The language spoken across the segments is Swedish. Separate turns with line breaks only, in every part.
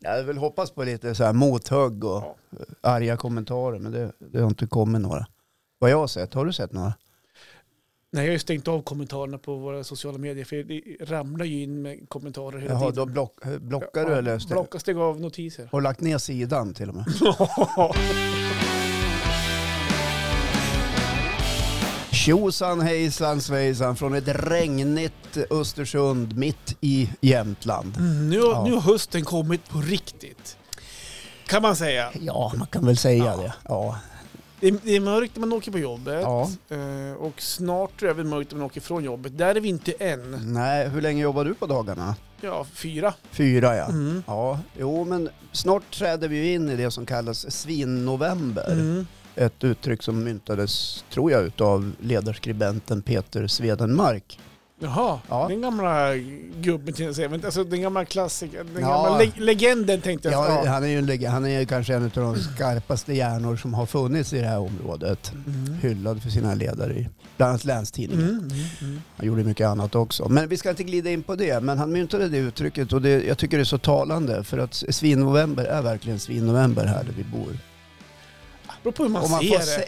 Jag vill hoppas på lite så här mothugg och arga kommentarer, men det, det har inte kommit några. Vad jag har sett, har du sett några?
Nej, jag har ju stängt av kommentarerna på våra sociala medier för det ramlar ju in med kommentarer hela
Jaha, då
tiden.
block, eh, blockar du
Ja,
eller? stäng-
Blocka, stäng av notiser.
Har lagt ner sidan till och med. Tjosan hejsan svejsan från ett regnigt Östersund mitt i Jämtland.
Mm, nu,
Ja.
nu har hösten kommit på riktigt. Kan man säga.
Ja, man kan väl säga
Ja.
det. Ja.
Det är, det är mörkt när man åker på jobbet
Ja.
eh, och snart är det även mörkt när man åker från jobbet. Där är vi inte än.
Nej, hur länge jobbar du på dagarna?
Ja, fyra.
Fyra ja.
Mm.
Ja, jo men snart träder vi ju in i det som kallas svinnovember.
Mm.
Ett uttryck som myntades, tror jag, utav ledarskribenten Peter Swedenmark.
Jaha,
Ja.
den gamla gubben till säga, men alltså den gamla klassikern, den
Ja.
gamla le- legenden tänkte jag.
Ja,
Ja.
han är ju en leg- han är ju kanske en av de skarpaste hjärnor som har funnits i det här området.
Mm.
Hyllad för sina ledare i bland annat Länstidningen.
Mm, mm, mm.
Han gjorde mycket annat också. Men vi ska inte glida in på det. Men han myntade det uttrycket och det, jag tycker det är så talande för att svinnovember är verkligen svinnovember här där vi bor.
Beror på hur man,
Om man
ser
får
det.
säga...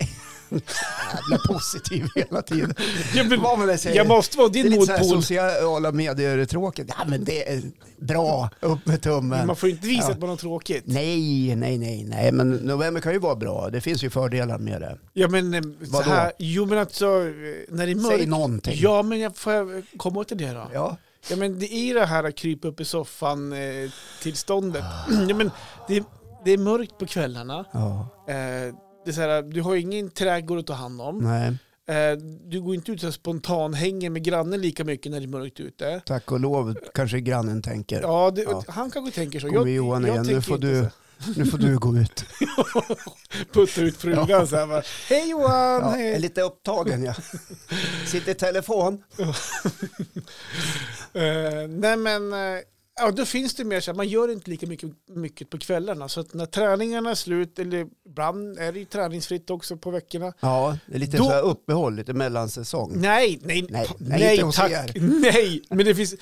Jävla positiv hela tiden.
Jag, blir-
Vad man än säger.
jag måste vara
det är
din
lite så här
motpol.
sociala medier är tråkigt. Ja men det är bra, upp med tummen.
Man får ju inte visa
Ja.
att man har tråkigt.
Nej, nej, nej, nej. Men november kan ju vara bra. Det finns ju fördelar med det.
Ja men eh, så
Vadå?
här, jo men alltså eh, när det är
Säg
mörkt.
någonting.
Ja men jag får jag komma åt det då? Ja.
Ja.
men det är ju det här att krypa upp i soffan eh, tillståndet.
Ah.
Ja men det, det är mörkt på kvällarna.
ja.
Eh, det är så här, du har ju ingen trädgård att ta hand om.
Nej,
Eh, du går inte ut och spontanhänger med grannen lika mycket när det är mörkt ute.
tack och lov kanske grannen tänker.
Ja, det,
Ja.
han kanske tänker så.
Kommer Johan igen, nu
tänker
får
inte
du-
så.
Nu får du gå ut.
Putta ut frugan
Ja.
så här bara, Hej Johan!
Ja,
hej.
är lite upptagen ja. Sitter i telefon.
Eh, nej men, eh, ja, då finns det mer så här, man gör inte lika mycket, mycket på kvällarna. Så att när träningarna är slut, eller ibland är det ju träningsfritt också på veckorna.
Ja, det är lite
Då-
så här uppehåll, lite mellansäsong.
Nej, nej,
Nej,
pa-
nej, inte hos er.
nej. Men det finns,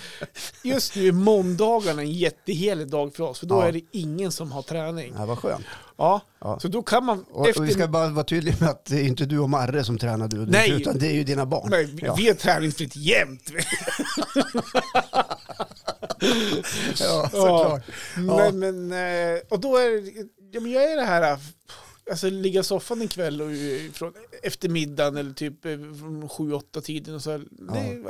just nu är måndagarna en jättehelig dag för oss, för då
Ja.
är det ingen som har träning.
Ja, vad skönt.
Ja,
Ja.
så då kan man
Och, och vi ska bara vara tydliga med att det är inte du och Marre som tränar du och du,
Nej.
utan det är ju dina barn.
Nej, vi,
ja.
vi är träningsfritt jämt.
ja, såklart. Ja.
Men, men, eh, och då är det- ja, men jag är det här, alltså ligga i soffan en kväll och eh, från eftermiddagen eller typ eh, från 7-8 tiden och så. här. Det,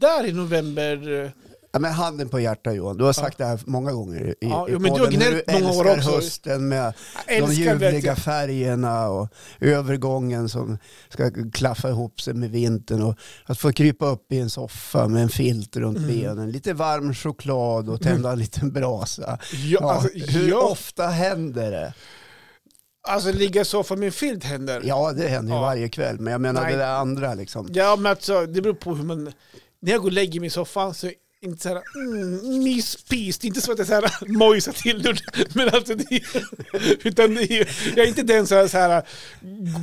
där i november, eh,
Ja, men handen på hjärtat Johan, du har sagt det här många gånger i,
Ja,
i
jo, men du har
podden, hur
gnällt många år
älskar
också.
hösten med de
älskar
ljuvliga
verkligen.
färgerna och övergången som ska klaffa ihop sig med vintern och att få krypa upp i en soffa med en filt runt
Mm.
benen, lite varm choklad och tända en liten brasa.
ja,
Ja,
alltså,
hur
ja,
ofta händer det?
alltså ligga i soffan med en filt händer. Ja.
Ja, det händer ju
Ja.
varje kväll, men jag menar
Nej.
det där andra liksom.
men alltså, det beror på hur man, när jag går och lägger mig i soffan så är det inte så här, mm, myspis, det är inte så att jag så här mojsar till det, men alltså det är, utan det är, jag är inte den som så här,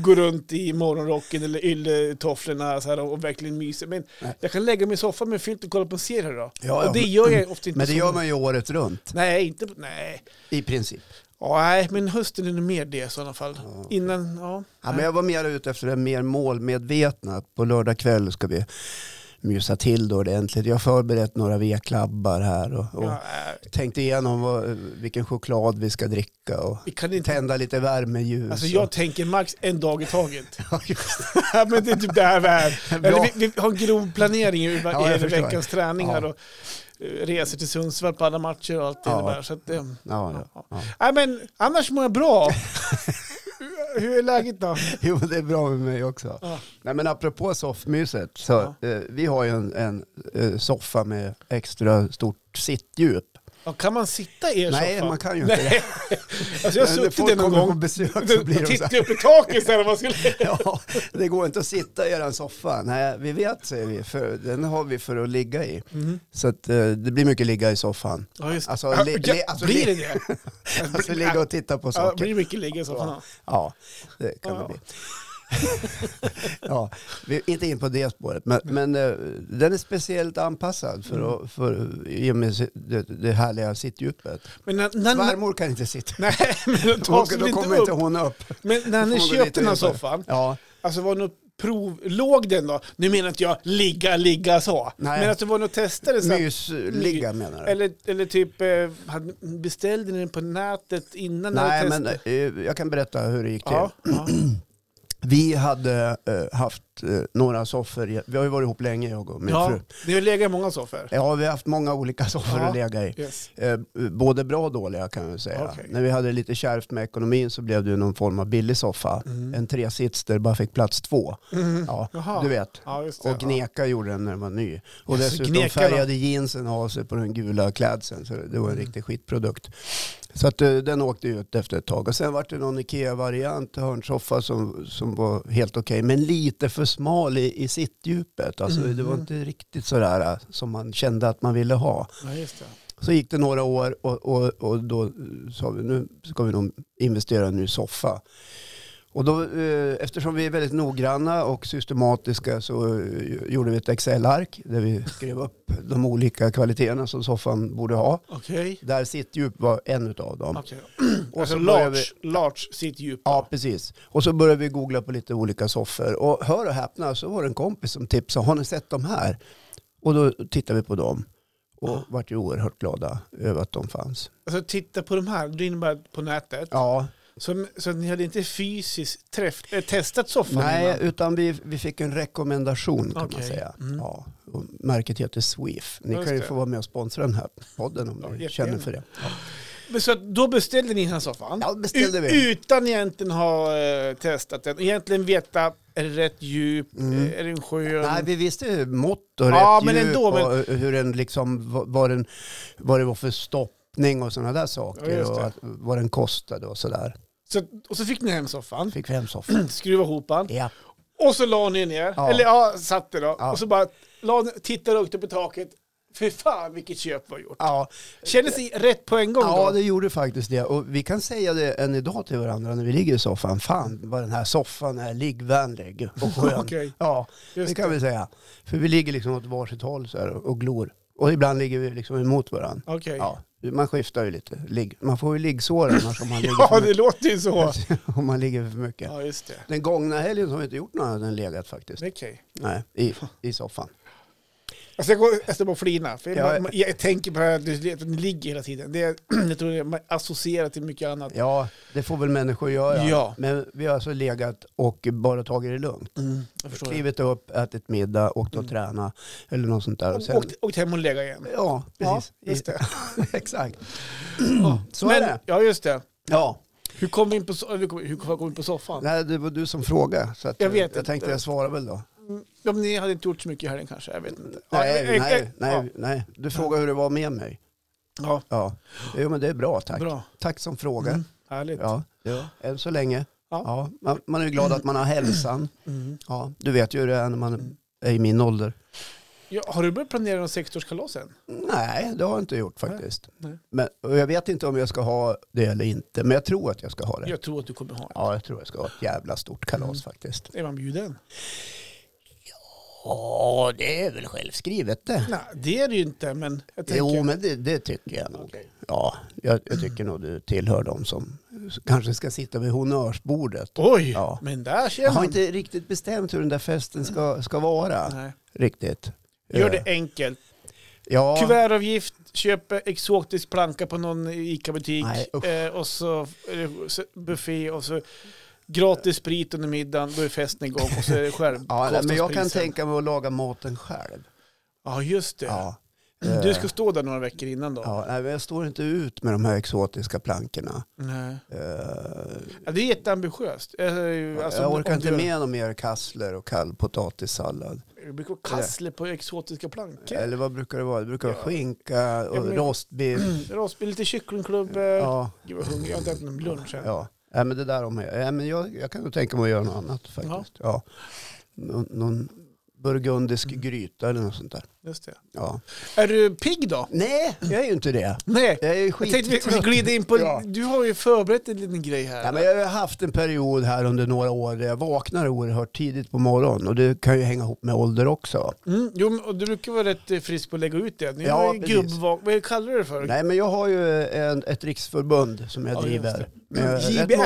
går runt i morgonrocken eller ylletofflorna så här, och verkligen myser, men
Nej.
jag kan lägga mig i soffan med en filt och kolla på en serie då.
Ja, ja,
och det
men-
gör jag ofta inte.
Men det
som-
gör man ju året runt,
Nej, inte, nej.
i princip.
Ja, nej, men hösten är nog mer det i sådana fall. Innan, ja.
Ja, men jag var mer ute efter det mer målmedvetna. Att På lördag kväll ska vi mysa till det ordentligt. Jag har förberett några veklabbar här och, och
Ja, nej.
tänkt igenom vad, vilken choklad vi ska dricka och
vi kan inte
tända lite värmeljus.
Alltså
och-
jag tänker max en dag i taget.
Ja, just det.
Ja, men det är typ det här vi är.
Bra.
Eller vi, vi har en grov planering i
Ja, jag
i
förstår.
veckans träningar
Ja.
och eh, resor till Sundsvall på alla matcher och allt det
Ja.
innebär. Så att, eh,
ja, ja, ja.
nej, men annars mår jag bra. Hur är läget då?
Jo, men det är bra med mig också.
Ja.
Nej, men apropå soffmyset, så eh, vi har ju en, en eh, soffa med extra stort sittdjup.
Ja, kan man sitta i er
Nej,
soffa?
man kan ju inte
Nej.
det.
Alltså jag har
Men
suttit
Eh, folk
i den någon
kommer på
gång.
besök så blir
Och
de så här.
tittar upp i taket så här. Vad skulle...
Ja, det går inte att sitta i den soffa. Nej, vi vet säger vi, för den har vi för att ligga i.
Mhm.
Så att, eh, det blir mycket ligga i soffan.
Ja, just det.
Alltså,
Ja,
li- li- alltså,
blir det
li-
det?
Alltså ligga och titta på
Ja,
saker.
blir mycket ligga i soffan?
Ja, det kan det
Ja.
bli. ja, vi är inte in på det spåret, men, men eh, den är speciellt anpassad
Mm.
för, att, för i och med si- det, det härliga sittdjupet.
Men när, när, när,
Svärmor kan inte sitta.
nej, men
Då,
tar sig
då
väl
kommer
inte upp.
inte hon upp.
Men när
Då
ni
får man gå lite
köpte den här
djupare.
soffan,
Ja,
alltså var det något prov, låg den då? Nu menar inte jag ligga, ligga så.
Nej.
Men att det var något testade så. här-
mysligga menar du?
Eller, eller typ, eh, hade- beställde ni den på nätet innan? ni
Nej,
hade
men
testat?
eh, Mm, jag kan berätta hur det gick till.
Ja, ja.
Vi hade eh, haft eh, några soffor, i- vi har ju varit ihop länge jag och min
ja.
fru.
Ni har legat i många soffor?
Ja, vi har haft många olika soffor
Ja.
att lägga i.
Yes.
Eh, både bra och dåliga kan jag säga.
Okej.
När vi hade lite kärvt med ekonomin så blev det ju någon form av billig soffa. En tresits där det bara fick plats två. Ja,
Mm. Jaha.
du vet.
Ja, just det.
Och Gneka gjorde den när den var ny. Och
Jaså,
dessutom
Gneka då? Mm.
färgade jeansen av sig på den gula klädseln. Så det var en riktig skitprodukt. Så att, eh, den åkte ut efter ett tag. Och sen var det någon Ikea-variant, hörnsoffa, som, som var helt okej. Men lite för smal i, i sittdjupet. Alltså,
Mm.
Det var inte riktigt sådär eh, som man kände att man ville ha.
Ja, just det.
Så gick det några år och, och, och då eh, sa vi nu ska vi nog investera i en ny soffa. Och då, eh, eftersom vi är väldigt noggranna och systematiska så eh, gjorde vi ett Excel-ark där vi skrev upp de olika kvaliteterna som soffan borde ha.
Okej.
Där sittdjup var en av dem.
Okej.
Och
Alltså
så började
large, large sitt djup.
Ja, precis. Och så började vi googla på lite olika soffor. Och hör och häpna så var det en kompis som tipsade, har ni sett de här? Och då tittade vi på dem och
Ja.
vart ju oerhört glada över att de fanns.
Alltså titta på de här, du innebär på nätet.
Ja,
Så, så ni hade inte fysiskt träff, äh, testat soffan
Nej,
innan?
utan vi, vi fick en rekommendation kan man
Okej.
säga.
Mm.
Ja, och märket heter Sweef. Ni
Ja, just
kan ju
det.
få vara med och sponsra den här podden om
Ja,
ni
jättegärna.
känner för det.
Men Så att då beställde ni den här soffan?
Ja, beställde
U-
vi.
Utan egentligen ha eh, testat den. Egentligen veta, är det rätt djup?
Mm.
Är det en skön?
Nej, vi visste ju mått och
Ja,
rätt
men
djup
ändå, men-
och hur den liksom, vad- vad, den, vad det var för stoppning och sådana där
Ja,
saker
just
och
det.
att, vad den kostade och sådär.
Så, och så fick ni hem soffan,
Fick vi hem soffan.
skruvade ihop den
ja.
och så la ni ner.
Ja.
Eller ja, satte då.
Ja.
Och så bara la, tittade högt upp i taket. Fy fan vilket köp var gjort.
Ja,
Kändes det rätt på en gång
ja,
då?
det gjorde faktiskt det. Och vi kan säga det än idag till varandra när vi ligger i soffan. Fan vad den här soffan är liggvänlig och skön.
Okej.
Ja,
Just
det kan vi säga. För vi ligger liksom åt varsitt håll så här och glor. Och ibland ligger vi liksom emot varandra.
Okej.
Ja, man skiftar ju lite. Ligg. Man får ju liggsår annars om man, ligger
Ja,
för
det låter ju så.
mycket. om man ligger för mycket.
Ja, just det.
Den gångna helgen så har vi inte gjort något annat än legat faktiskt.
Okej.
Nej, i, i soffan.
Alltså jag, går, jag står bara och flinar. För
Ja.
jag, jag, jag tänker på det här att du att ni ligger hela tiden. Det, är- jag tror det är associerat till mycket annat.
Ja, det får väl människor göra.
Ja.
Men vi har alltså legat och bara tagit det lugnt.
Mm, jag förstår det.
Klivit upp, ätit middag, åkt och tränat eller något sånt där. Och sen,
Och, åkt- åkt hem och lägga igen.
ja, precis.
Ja, just det.
Exakt.
Ja.
så är det.
Ja, just det.
Ja,
Hur kom vi in på, so- hur kom, hur kom vi in på soffan?
nej, det var du som frågade. Så att,
Jag vet
jag
inte.
tänkte jag svarar väl då.
Ja, men ni hade inte gjort så mycket i helgen kanske? Jag vet inte. Ja,
Nej,
eh, eh,
nej,
ja.
nej, nej. Du frågade hur det var med mig.
Ja,
Ja, jo, men det är bra tack.
bra.
Tack som fråga.
Mm, härligt.
Ja,
Ja.
än så länge.
Ja.
Ja, man, man är ju glad att man har hälsan.
Mm.
Ja, du vet ju hur det är när man är i min ålder.
Ja, har du börjat planera någon sexårskalas än?
Nej, det har jag inte gjort faktiskt.
Nej.
Men, och jag vet inte om jag ska ha det eller inte, men jag tror att jag ska ha det.
Jag tror att du kommer ha det. Mm.
Ja, jag tror jag ska ha ett jävla stort kalas faktiskt.
Är man bjuden?
Ja, det är väl självskrivet det.
Nej, det är det ju inte, men jag tänker...
Jo, men det, det tycker jag nog.
Okej.
Ja, jag, jag tycker nog du tillhör dem som kanske ska sitta vid honnörsbordet.
Oj,
Ja.
men där
Jag
känner
har
man...
inte riktigt bestämt hur den där festen ska, ska vara.
Nej.
Riktigt.
Gör det
Eh,
enkelt.
Ja,
Kuvertavgift, köp exotisk planka på någon ICA-butik
Nej, usch.
eh, och så eh, så buffé och så gratis sprit under middagen, då är festen igång och så är det själv.
ja nej, men jag kan
kostnadsprisen.
tänka mig att laga maten själv.
Ja, just det.
Ja. Eh,
Du ska stå där några veckor innan då?
Ja, nej, men jag står inte ut med de här exotiska plankorna.
Nej.
Eh,
Ja, det är jätteambitiöst. Eh, Alltså,
jag
om-
orkar
om
inte
du-
med någon mer kassler och kall potatissallad.
Det brukar vara kassler på exotiska plankor.
Eller vad brukar det vara? Det brukar vara
Ja.
skinka och
Ja, men-
rostbiff.
Rostbiff, lite kycklingklubb. eh.
Ja,
Gud vad hungrig jag är, jag har inte ätit någon lunch än.
ja. Nej, men det där om jag. Nej, men jag, jag kan nog tänka mig att göra
Mm.
något annat faktiskt. Ja. Nå- Någon burgundisk gryta eller något sånt där.
Just det.
Ja.
Är du pigg då?
Nej, jag är ju inte det.
Nej.
Jag är
Jag tänkte vi skulle
skittrött.
glida in på...
Ja.
Du har ju förberett en liten grej här.
Ja, men jag har haft en period här under några år där jag vaknar oerhört tidigt på morgonen och det kan ju hänga ihop med ålder också.
Mm, jo, men- och du brukar vara rätt eh, frisk på att lägga ut det. Nu
Ja,
ja,
precis.
gubbvak... Vad kallar du det för?
Nej, men jag har ju en, ett riksförbund som jag
Ja, just
driver.
det.
Med rätt
JBR.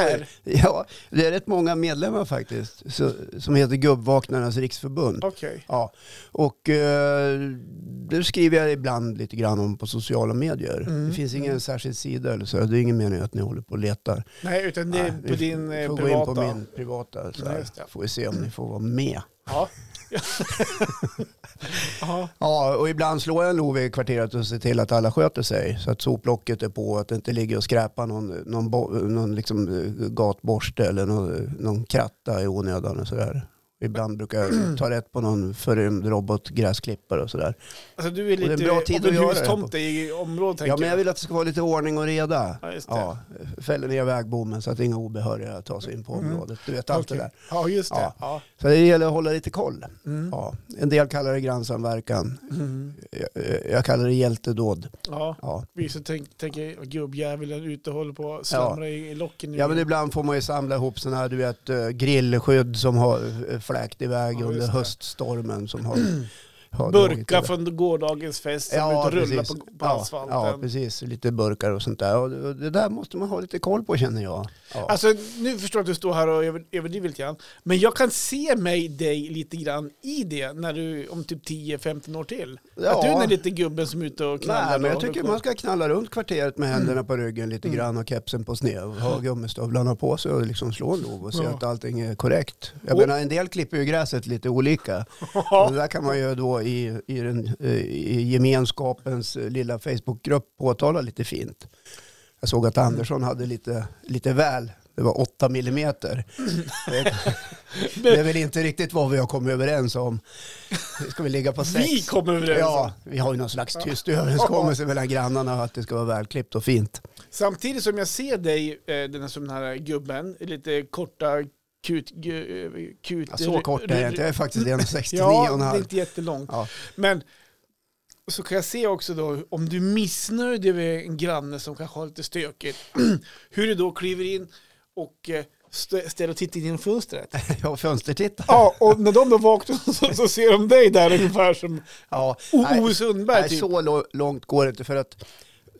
många- Ja, det är rätt många medlemmar faktiskt så, som heter Gubbvaknarnas riksförbund.
Okej.
Ja, och eh, det skriver jag ibland lite grann om på sociala medier.
Mm.
Det finns ingen
Mm.
särskild sida eller så. Det är ingen mening att ni håller på och letar.
Nej, utan det
Nej,
är
vi
på din eh,
får
privata.
gå in på min privata. Så
Ja,
här.
just det.
Får vi se om ni får vara med.
Ja. ja.
Ja, och ibland slår jag en lov i kvarteret och ser till att alla sköter sig. Så att soplocket är på, att det inte ligger och skräpar någon, någon, bo, någon liksom eh, gatborste eller någon, någon kratta i onödan och sådär. Ibland brukar jag ta rätt på någon förrymd robotgräsklippare och sådär.
Alltså du är
det är
lite
en bra tid
av
att
en
göra det här
hustomte i området tänker
Ja, men jag vill att det ska vara lite ordning och reda.
Ja, just det.
Ja, fäller ner vägbommen så att inga obehöriga tar sig in på
Mm.
området. Du vet allt
Okej.
det där.
Ja, just det.
Ja.
Ja.
Så det gäller att hålla lite koll.
Mm.
Ja. En del kallar det grannsamverkan.
Mm.
Jag, eh, jag kallar det hjältedåd.
ja.
Ja.
Vi så tänk- tänker tänk, gubbjävulen ute och håller på att slamra i, i locken nu.
ja, men ibland får man ju samla ihop sådana här du vet, eh, grillskydd som har eh, fläkt iväg
Ja,
under
just det.
höststormen. Som har, har dragit
Burkar
iväg.
från gårdagens fest som
Ja,
ja, ute och rullar
precis.
på, på
ja,
asfalten.
ja, precis. Lite burkar och sånt där. Och det, och det där måste man ha lite koll på känner jag. Ja.
Alltså, nu förstår jag att du står här och över- överdriver lite grann. Men jag kan se mig dig lite grann i det när du om typ 10-15 år till. Att du är den där lite gubben som är ute och knallar.
Nej, men jag
och-
tycker man ska knalla runt kvarteret med händerna på ryggen lite
Mm.
grann och kepsen på sned och ha gummistövlarna på sig och liksom slå en lov och se
Ja.
att allting är korrekt. Jag
Och-
menar en del klipper ju gräset lite olika. Och
Ja,
det där kan man ju då i, i, den, eh, i gemenskapens eh, lilla Facebookgrupp påtala lite fint. Jag såg
Mm.
att Andersson hade lite, lite väl, det var 8 millimeter.
Mm.
Det- Det är väl inte riktigt vad vi har kommit överens om. Ska vi ligga på 6?
vi kommer överens om.
Ja, vi har ju någon slags tyst överenskommelse mellan grannarna att det ska vara välklippt och fint.
Samtidigt som jag ser dig, eh, den här, som den här gubben, lite korta kut... gu- eh, kut
Ja, så kort är jag inte, jag är faktiskt 1,69
Mm. Ja,
och en
det är
halv.
inte jättelångt.
Ja.
Men så kan jag se också då, om du är missnöjd över en granne som kanske har lite stökigt, hur du då kliver in och eh, st- ställer och tittar in genom fönstret.
Jag har fönstertittare.
Ja, och när de då vaknar så, så ser de dig där ungefär som
Ja.
O-
nej,
Ove Sundberg
nej,
Oh, typ.
så lo- långt går det inte för att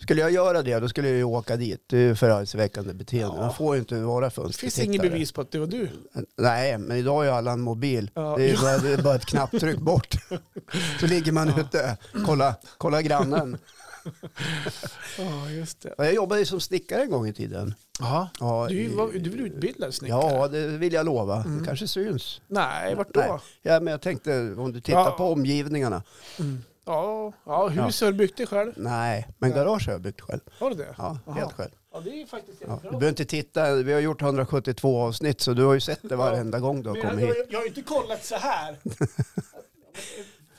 skulle jag göra det då skulle jag ju åka dit. Det är ju förargelseväckande beteende.
Ja.
Man får ju inte vara
Det finns inget
fönstertittare.
bevis på att det var du.
Nej, men idag har ju alla en mobil.
Ja.
Det, är bara, det är bara ett knapptryck bort. Så ligger man ute, kolla, kolla grannen.
Ja, just det.
Ja, Jag jobbade ju som snickare en gång i tiden.
Ja.
Ja,
Du,
i-
var, du blev utbildad snickare?
Ja, det vill jag lova. Det kanske syns.
Mm. Nej, vart då?
Nej. Ja, men jag tänkte om du tittar
Ja.
på omgivningarna.
Ja, ja hus har du byggt dig själv.
Nej, men
Nej.
garage har jag byggt själv.
Har du det?
Ja,
Aha.
helt själv.
Ja, det är ju faktiskt
Ja. Du
jättebra.
behöver inte titta. Vi har gjort 172 avsnitt så du har ju sett det varenda gång du har
Men jag,
kommit hit.
jag, jag har ju inte kollat så här.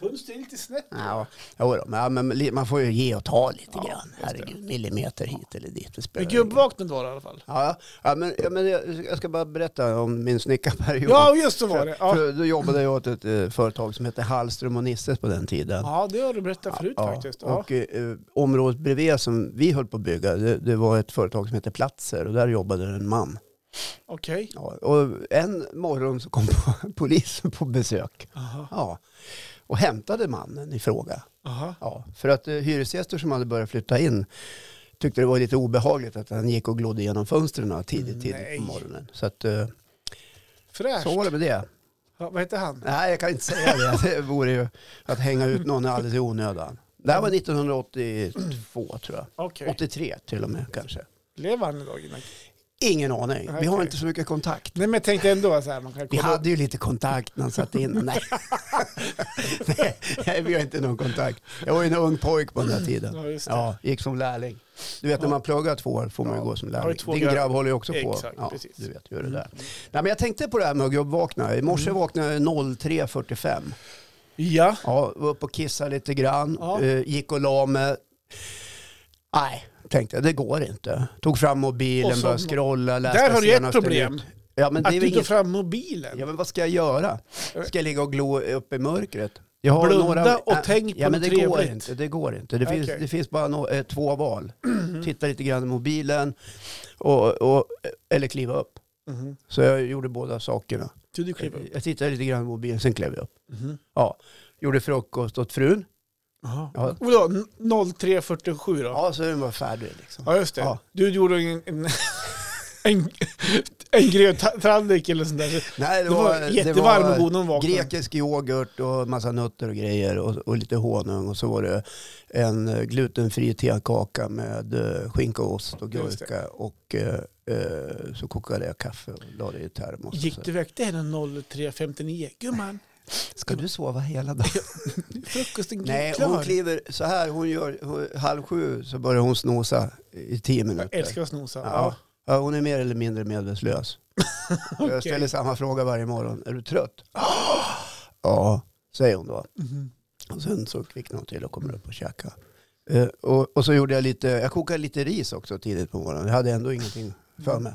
Fönstret är lite snett.
Ja, jo då, men, ja, men li- man får ju ge och ta lite
Ja,
grann. Herregud, millimeter hit eller dit. Det spelar
Men
ingen roll.
gubbvaknet var det i alla fall.
Ja, ja, men, ja, men jag jag ska bara berätta om min snickarperiod.
Ja, just det var det. Ja,
För då jobbade jag åt ett eh, företag som hette Hallström och Nisses på den tiden.
ja det har du berättat förut faktiskt. Ja.
Och eh, området bredvid som vi höll på att bygga, det, det var ett företag som hette Platser och där jobbade en man.
Okej.
Ja, och en morgon så kom polisen på besök
Aha.
ja, och hämtade mannen i fråga.
Aha.
Ja, för att eh, hyresgäster som hade börjat flytta in tyckte det var lite obehagligt att han gick och glodde igenom fönstren tidigt, tidigt
Mm, Nej.
på morgonen. Så, att, eh,
Fräscht.
så var det med det.
Ja, vad heter han?
Nej, jag kan inte säga det. Det vore ju att hänga ut någon alldeles i onödan. Det
Mm.
här var 1982 tror jag.
Okej.
83 till och med kanske.
Lever han idag? innan?
Ingen aning. Vi har
Okej.
inte så mycket kontakt.
Nej, men jag tänkte ändå så här. Man kan
Vi
kolla.
hade ju lite kontakt när han satte in Nej. Nej, Nej, vi har inte någon kontakt. Jag var ju en ung pojk på den här tiden.
Ja, just det.
Ja, gick som lärling. Du vet när man pluggar två år får man ju
Ja.
gå som
Har
lärling.
du två
Din
grabb-
grabb håller ju också på.
Exakt, precis. Mm.
Du vet ju hur det där. Nej, men jag tänkte på det här med att gubbvakna. I morse vaknade jag 03.45.
ja.
Ja, var uppe och kissade lite grann.
Ja.
Eh, gick och la mig. Nej, tänkte jag, det går inte. Tog fram
Och
mobilen,
så-
började scrolla, läste
Där har du ett
senaste
problem.
nytt. Ja, men det
Att
är ju
du tar
inget...
fram mobilen.
Ja, men vad ska jag göra? Ska jag ligga och glo upp i mörkret? Jag har
Blunda
några,
och
Nej,
tänk på
ja, men
något
det går
trevligt.
inte. Det går inte. Det, finns,
Okej. Mm.
det finns bara nå- eh, två val. Titta lite grann i mobilen och, och, eller kliva upp.
Mhm.
Så jag gjorde båda sakerna.
Så du klev upp?
Jag tittade lite grann i mobilen, sen klev jag upp.
Mhm.
Ja. Gjorde frukost åt frun.
Jaha.
Ja.
Och då, 03.47 då?
Ja, så den var färdig liksom.
Ja, just det.
Ja.
Du gjorde en, en, en, en gröntallrik eller sånt där.
Nej,
Det var jättevarm och god när hon vaknade.
Grekisk yoghurt och massa nötter och grejer och, och lite honung och så var det en eh, glutenfri tekaka med eh, skinka och ost och
Just det.
gurka och eh, eh, så kokade jag kaffe och la det i termos.
Gick
Så-
du väckte henne 03.59? Gumman,
Ska du sova hela dagen?
frukosten är
Nej, hon
klar.
kliver så här, hon gör hon, halv sju så börjar hon snosa i tio
Jag
minuter.
älskar att snosa.
Ja.
Ja.
Ja, hon är mer eller mindre medvetslös. Jag
Okej.
ställer samma fråga varje morgon. Är du trött? ja, säger hon då.
Mhm.
Och sen så kvicknar hon till och kommer upp och käkar. Eh, och, och så gjorde jag lite, jag kokade lite ris också tidigt på morgonen. Jag hade ändå ingenting för mig.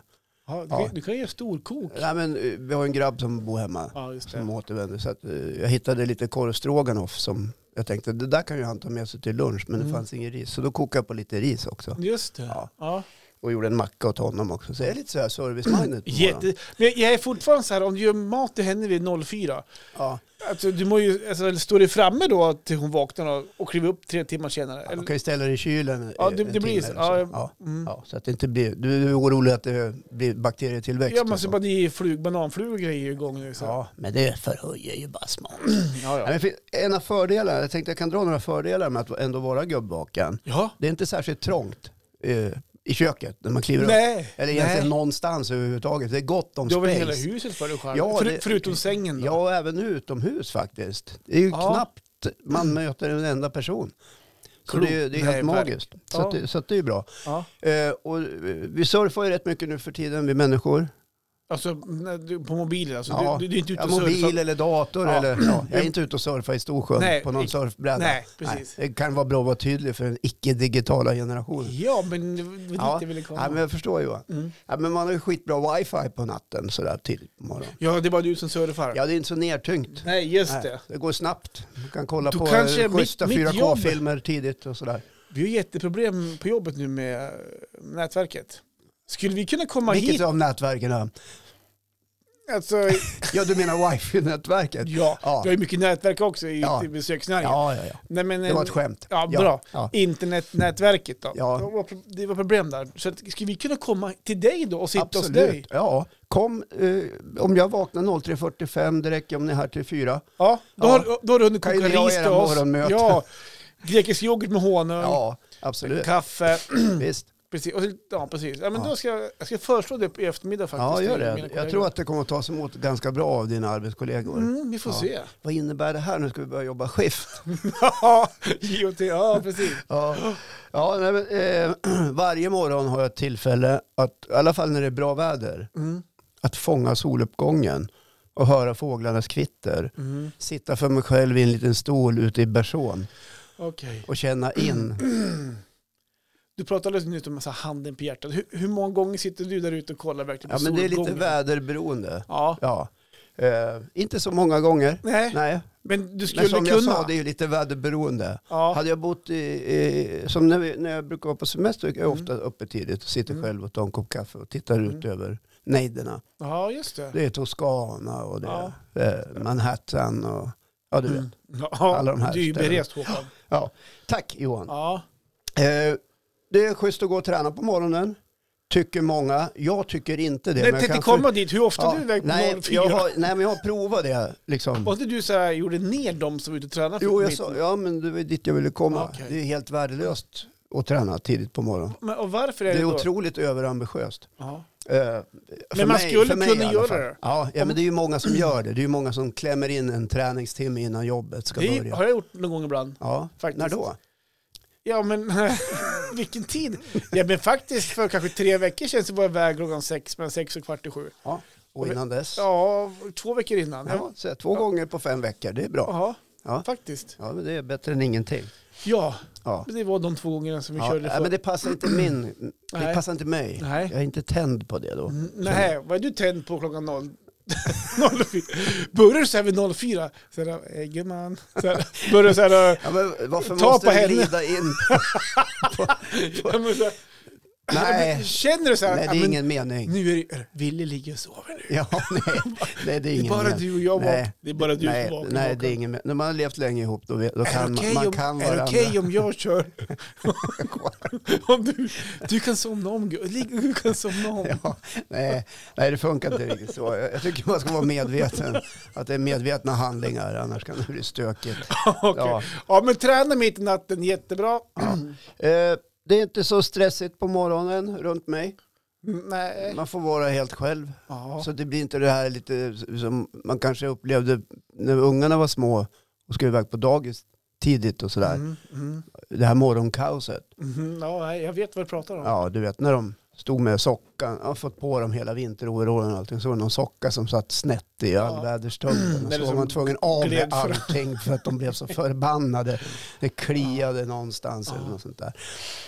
Ja, du,
Ja.
Kan, du kan göra storkok.
Nej, men, eh, vi har en grabb som bor hemma
Ja, just
som
det.
återvänder. Så att, eh, jag hittade lite korv stroganoff som jag tänkte det där kan ju han ta med sig till lunch. Men det
Mm.
fanns ingen ris. Så då kokade jag på lite ris också.
Just det.
Ja.
Ja.
Och gjorde en macka åt honom också. Så jag är lite så här service-minded på morgonen.
Jätte... Men jag är fortfarande så här, om du gör mat till henne vid 04,
Ja,
alltså, du må ju, alltså, står du framme då till hon vaknar och, och kliver upp tre timmar senare?
man
Eller,
kan ju ställa det i kylen
Ja,
ja,
det-
en
det
timme
blir
eller
så.
så.
Ja, jag-
Ja.
mm.
Ja, så att det inte blir, du är orolig att det blir bakterietillväxt.
Ja,
och
men
så.
så bara det är flug, bananflugor och grejer igång nu. Så.
Ja, men det förhöjer ju bara smaken.
Ja,
Nej,
ja.
men fin- En av fördelarna, jag tänkte jag kan dra några fördelar med att ändå vara gubbvaken.
ja.
Det är inte särskilt trångt eh, i köket när man kliver upp.
Nej.
Eller
nej.
egentligen någonstans överhuvudtaget. Det är gott om
Du har väl
space.
hela huset för dig själv?
Ja,
För,
det-
förutom sängen då?
Ja, och även utomhus faktiskt. Det är ju
Ja.
knappt man möter en enda person. Så
Klokt.
det är, det är helt
Nej,
magiskt. Så,
Ja.
att det, så att det är bra.
Ja.
Eh, och eh, vi surfar ju rätt mycket nu för tiden, vi människor.
Alltså när du, på mobilen alltså?
Ja.
Du, du, du är inte ute
Ja,
och
mobil
surfar?
eller dator.
Ja.
Eller, ja, jag är inte ute och surfar i Storsjön
Nej,
på någon
i-
surfbräda.
Nej, precis.
Nej, det kan vara bra att vara tydlig för den icke-digitala generationen.
Ja, men det var dit
Ja.
jag ville komma.
Ja, men jag förstår Johan.
Mm.
Ja, men man har ju skitbra wifi på natten sådär till på morgonen.
Ja, det är bara du som surfar.
Ja, det är inte så nedtyngt.
Nej, just
Nej,
det.
det går snabbt. Man kan kolla
Då
på
kanske
eh,
mitt-
schyssta
mitt jobb-
4K-filmer tidigt och sådär.
Vi har jätteproblem på jobbet nu med eh, nätverket. Skulle vi kunna komma hit?
Vilket av nätverken? är?
Alltså,
Ja, du menar wifi-nätverket?
ja,
Ja.
vi har ju mycket nätverk också i,
Ja.
i besöksnäringen.
Ja, ja, ja.
Nej, men, eh,
Det var ett skämt.
Ja, bra.
Ja.
Internetnätverket då?
Ja.
Det, var, det var problem där. Så att, skulle vi kunna komma till dig då och sitta hos dig?
Absolut. Ja, kom. Eh, om jag vaknar 03.45, det räcker om ni är här till 4.
Ja, då,
Ja.
Har, då har du hunnit
Kan
koka
ju ni ha
ris
era
till oss.
morgonmöten.
Ja, grekisk yoghurt med honung,
Ja, absolut.
kaffe.
Visst.
Precis. Och, så- ja, precis. Ja, men
Ja.
Då ska, jag- jag ska föreslå det i eftermiddag faktiskt.
Ja, gör
till mina
det. Jag
kollegor.
tror att det kommer att tas emot ganska bra av dina arbetskollegor.
Mm, vi får
Ja.
se.
Vad innebär det här? Nu ska vi börja jobba skift.
Ja, JOT, ja precis.
Ja. Ja, nej, men, eh, varje morgon har jag ett tillfälle, att, i alla fall när det är bra väder,
Mm.
att fånga soluppgången och höra fåglarnas kvitter.
Mm.
Sitta för mig själv i en liten stol ute i bersån
Okej.
och känna in.
Du pratade alldeles nyss om massa handen på hjärtat. Hur, hur många gånger sitter du där ute och kollar verkligen
Ja,
på
men det är lite
solgången?
väderberoende.
Ja.
Ja. Eh, inte så många gånger.
Nej,
Nej,
men du
men
skulle
som
kunna.
jag sa, det är ju lite väderberoende.
ja.
Hade jag bott i, i som när, vi, när jag brukar vara på semester, jag är jag
Mm.
ofta uppe tidigt och sitter
Mm.
själv och tar en kopp kaffe och tittar ut över nejderna.
ja, just det.
Det är Toscana och det är eh, Manhattan och ja, du vet.
Mm. Ja,
Alla de här
du är ju
ställena.
berest Håkan.
Ja. Tack Johan.
Ja.
Eh, det är schysst att gå och träna på morgonen, tycker många. Jag tycker inte det.
Nej,
men jag
tänkte
kan
komma dit. Hur ofta
för-
är du iväg på
nej,
04?
jag har, nej, men jag har provat det liksom.
Var inte du så här, gjorde ner dem som var ute och tränade? för
Jo, jag
mitt- Ah,
sa, ja men det var dit jag ville komma.
Okej.
Det är helt värdelöst att träna tidigt på morgonen.
Men, och varför
Det
är det,
är
då?
otroligt överambitiöst.
Ja.
Eh, för
Men man skulle
för mig
kunna
i alla
göra
fall.
det.
Ja, ja,
Om-
men det är ju många som gör det. Det är ju många som klämmer in en träningstimme innan jobbet ska
Det
börja.
har jag gjort någon gång ibland.
Ja,
faktiskt.
när då?
Ja, men vilken tid. Ja, men faktiskt för kanske tre veckor sedan så var jag iväg klockan sex, mellan sex och kvart i sju.
Ja, och innan dess? Ja.
Ja, två veckor innan. Ja,
så två gånger på fem veckor, det är bra.
Jaha,
Ja.
faktiskt.
Ja, men det är bättre än ingenting.
Ja,
Ja.
men det var de två gångerna som vi
Ja,
körde
nej,
förr.
men det passar inte min, det
Nej.
passar inte mig.
Nej.
Jag är inte tänd på det då.
Mm, Nej, vad är du tänd på klockan noll? 04. Börjar du så här vid 04, så här, "Hej, gumman. Så här, börjar du så här, eh,
Ja, men varför
Ta
måste
på
du
henne.
glida in?
ja, men så här,
Nej.
känner du så här,
Nej,
"Ja,
det är
men
ingen mening.
nu är det, är det- Willy ligger och sover nu.
Ja, nej, nej, det är
Det är
ingen
bara
mening.
du och jag
Nej.
vaknar. Det är bara du
nej,
som vaknar.
nej, det är ingen mening. När man har levt länge ihop då, vet- då
Är det
kan man-
okej
man
om,
kan
är det
varandra.
okej om jag kör? om du, du kan somna om, gu- ligg- du kan somna om.
Ja, nej, nej, det funkar inte riktigt så. Jag jag tycker man ska vara medveten. Att det är medvetna handlingar, annars kan det bli stökigt.
Okej.
Ja.
Ja, men träna mitt i natten jättebra.
Eh, det är inte så stressigt på morgonen runt mig.
Nej.
Man får vara helt själv.
Ja.
Så det blir inte det här lite som man kanske upplevde när ungarna var små och skulle iväg på dagis tidigt och sådär.
Mm, mm,
Det här morgonkaoset.
mhm. ja, nej, jag vet vad du pratar om.
Ja, du vet när de stod med sockan, jag har fått på dem hela vinteroverallen och allting, så var det någon socka som satt snett i allväderstunden. Och
Eller
så var
som
man tvungen av
gled
med
fram.
allting för att de blev så förbannade. Det kliade någonstans eller
Ja.
något sånt där.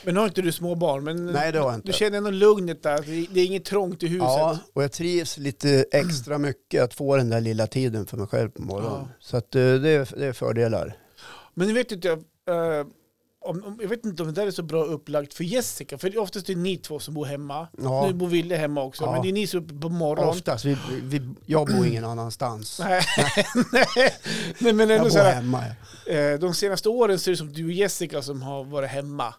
Men har inte du små barn? Men
Nej, det har jag
Du
inte.
känner ändå lugnet där? Det det är inget trångt i huset?
Ja, och jag trivs lite extra mycket att få den där lilla tiden för mig själv på morgonen.
Ja.
Så att, eh, det, är, det är fördelar.
Men nu vet inte jag, eh, om, om, jag vet inte om det där är så bra upplagt för Jessica, för det är oftast det är ni två som bor hemma.
Ja,
Nu bor Ville hemma också,
Ja.
men det är ni som är uppe på morgonen.
oftast. Vi, vi, jag bor ingen annanstans.
Nej, nej, nej, men
Jag
ändå så
bor
här,
hemma. ja.
eh, de senaste åren så är det som du och Jessica som har varit hemma.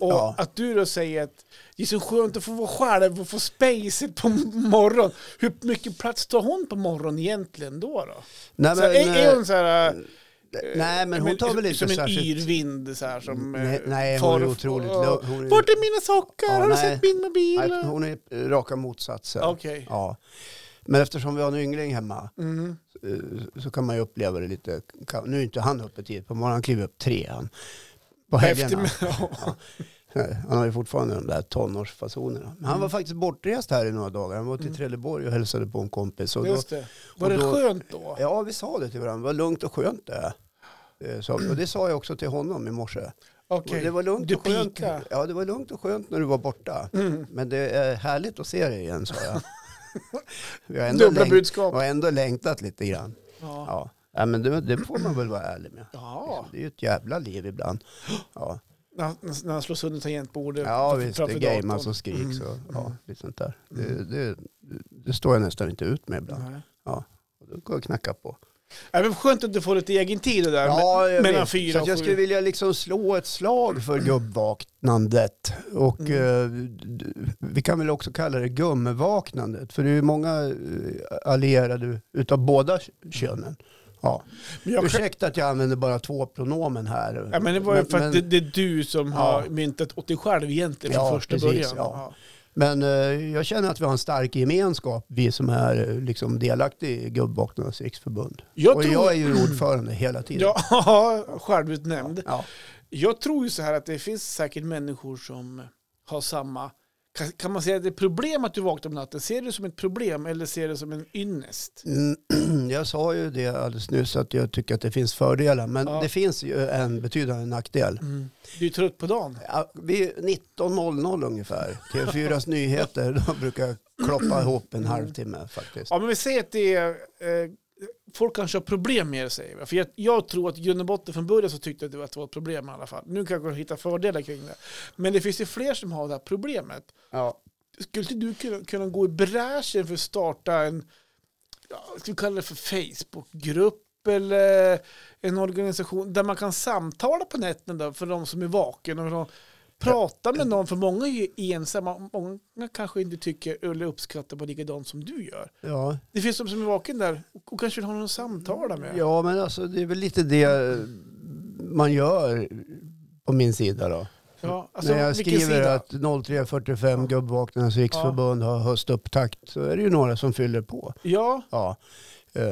Och
Ja.
att du då säger att det är så skönt att få vara själv och få spacet på morgonen. Hur mycket plats tar hon på morgonen egentligen då? då?
Nej,
så här, är, är
eh,
hon så här...
Nej, men hon tar väl inte
Som en
särskilt...
yrvind så här som... eh,
Nej, nej, hon är
far-
otroligt
och-
lugn. Hon är-
Vart är mina sockar?
Ja,
har du
nej.
sett min mobil?
Nej, hon är eh, raka motsatsen.
Okej.
Ja. Men eftersom vi har en yngling hemma
Mm.
eh, så kan man ju uppleva det lite. ka- Nu är inte han uppe tidigt på morgonen, han kliver upp tre han. På helgerna.
Eftermiddag. Ja.
Han har ju fortfarande de där tonårsfasonerna. Men han
Mm.
var faktiskt bortrest här i några dagar. Han var till Trelleborg och hälsade på en kompis. Och då,
Just det. Var
och
det
då-
skönt då?
ja, vi sa det till varandra. Det var lugnt och skönt det. Eh, sa vi. Och det sa jag också till honom i morse. Och
Okej.
Det var lugnt
Du
och skönt.
pika.
Ja, det var lugnt och skönt när du var borta.
Mm.
Men det är härligt att se dig igen, sa jag. Vi har ändå,
Dubbla
längt,
budskap.
har ändå längtat lite grann.
Ja.
Ja. Ja, men det, det får man väl vara ärlig med. Liksom,
Ja.
Det är ju ett jävla liv ibland. Ja,
När, han- när han slår sönder tangentbordet
ja
framför
visst, det är
datorn.
gamer som skriks
Mm.
och ja,
Mm.
lite sånt där. Det, det, det står jag nästan inte ut med ibland.
Nej.
Och Då går jag och knackar på.
Ja, men skönt att du får lite egen tid det där.
Ja, jag
mellan
vet.
fyra
Så att
och
jag
sju. Mm.
skulle vilja liksom slå ett slag för gubbvaknandet. Och eh, d- vi kan väl också kalla det gummevaknandet. För det är ju många eh, allierade utav båda k- könen. Ja.
Mm. men, jag,
Ursäkta att jag använder bara två pronomen här.
ja, men det var ju för att
men,
det, det är du som
Ja.
har myntat åt dig själv egentligen
Ja,
från första
precis,
början.
ja. men, eh, jag känner att vi har en stark gemenskap, vi som är eh, liksom delaktiga i Gubbvaknarnas riksförbund.
Jag
och
tror-
jag är ju ordförande hela tiden.
Ja, självutnämnd.
Ja.
Jag tror ju så här att det finns säkert människor som har samma... Kan, kan man säga att det är problem att du vaknar på natten? Ser du det som ett problem eller ser du det som en ynnest?
Mm, Jag sa ju det alldeles nyss att jag tycker att det finns fördelar, men
Ja.
det finns ju en betydande nackdel.
Mm. Du är trött på dagen.
Ja, Vid 19.00 ungefär, TV4s nyheter, då brukar jag kloppa ihop en halvtimme faktiskt.
Ja, men vi säger att det är... Eh, folk kanske har problem med det, säger vi. För jag, jag tror att i grund och botten från början så tyckte jag att det var- att det var ett problem i alla fall. Nu kanske jag hittar fördelar kring det. Men det finns ju fler som har det här problemet.
Ja.
Skulle inte du kunna, kunna gå i bräschen för att starta en, ja, ska vi kalla det för Facebookgrupp eller en organisation där man kan samtala på nätten då, för de som är vaken och de, prata med någon, för många är ju ensamma, många kanske inte tycker eller uppskattar på likadant som du gör.
Ja.
Det finns de som är vaken där och, och kanske vill ha någon att samtala med.
ja, men alltså det är väl lite det eh, man gör på min sida då.
Ja, alltså,
När jag
vilken
skriver
sida?
att 0345 Gubbvaknarnas riksförbund har höstupptakt så är det ju några som fyller på.
Ja,
Ja. Eh,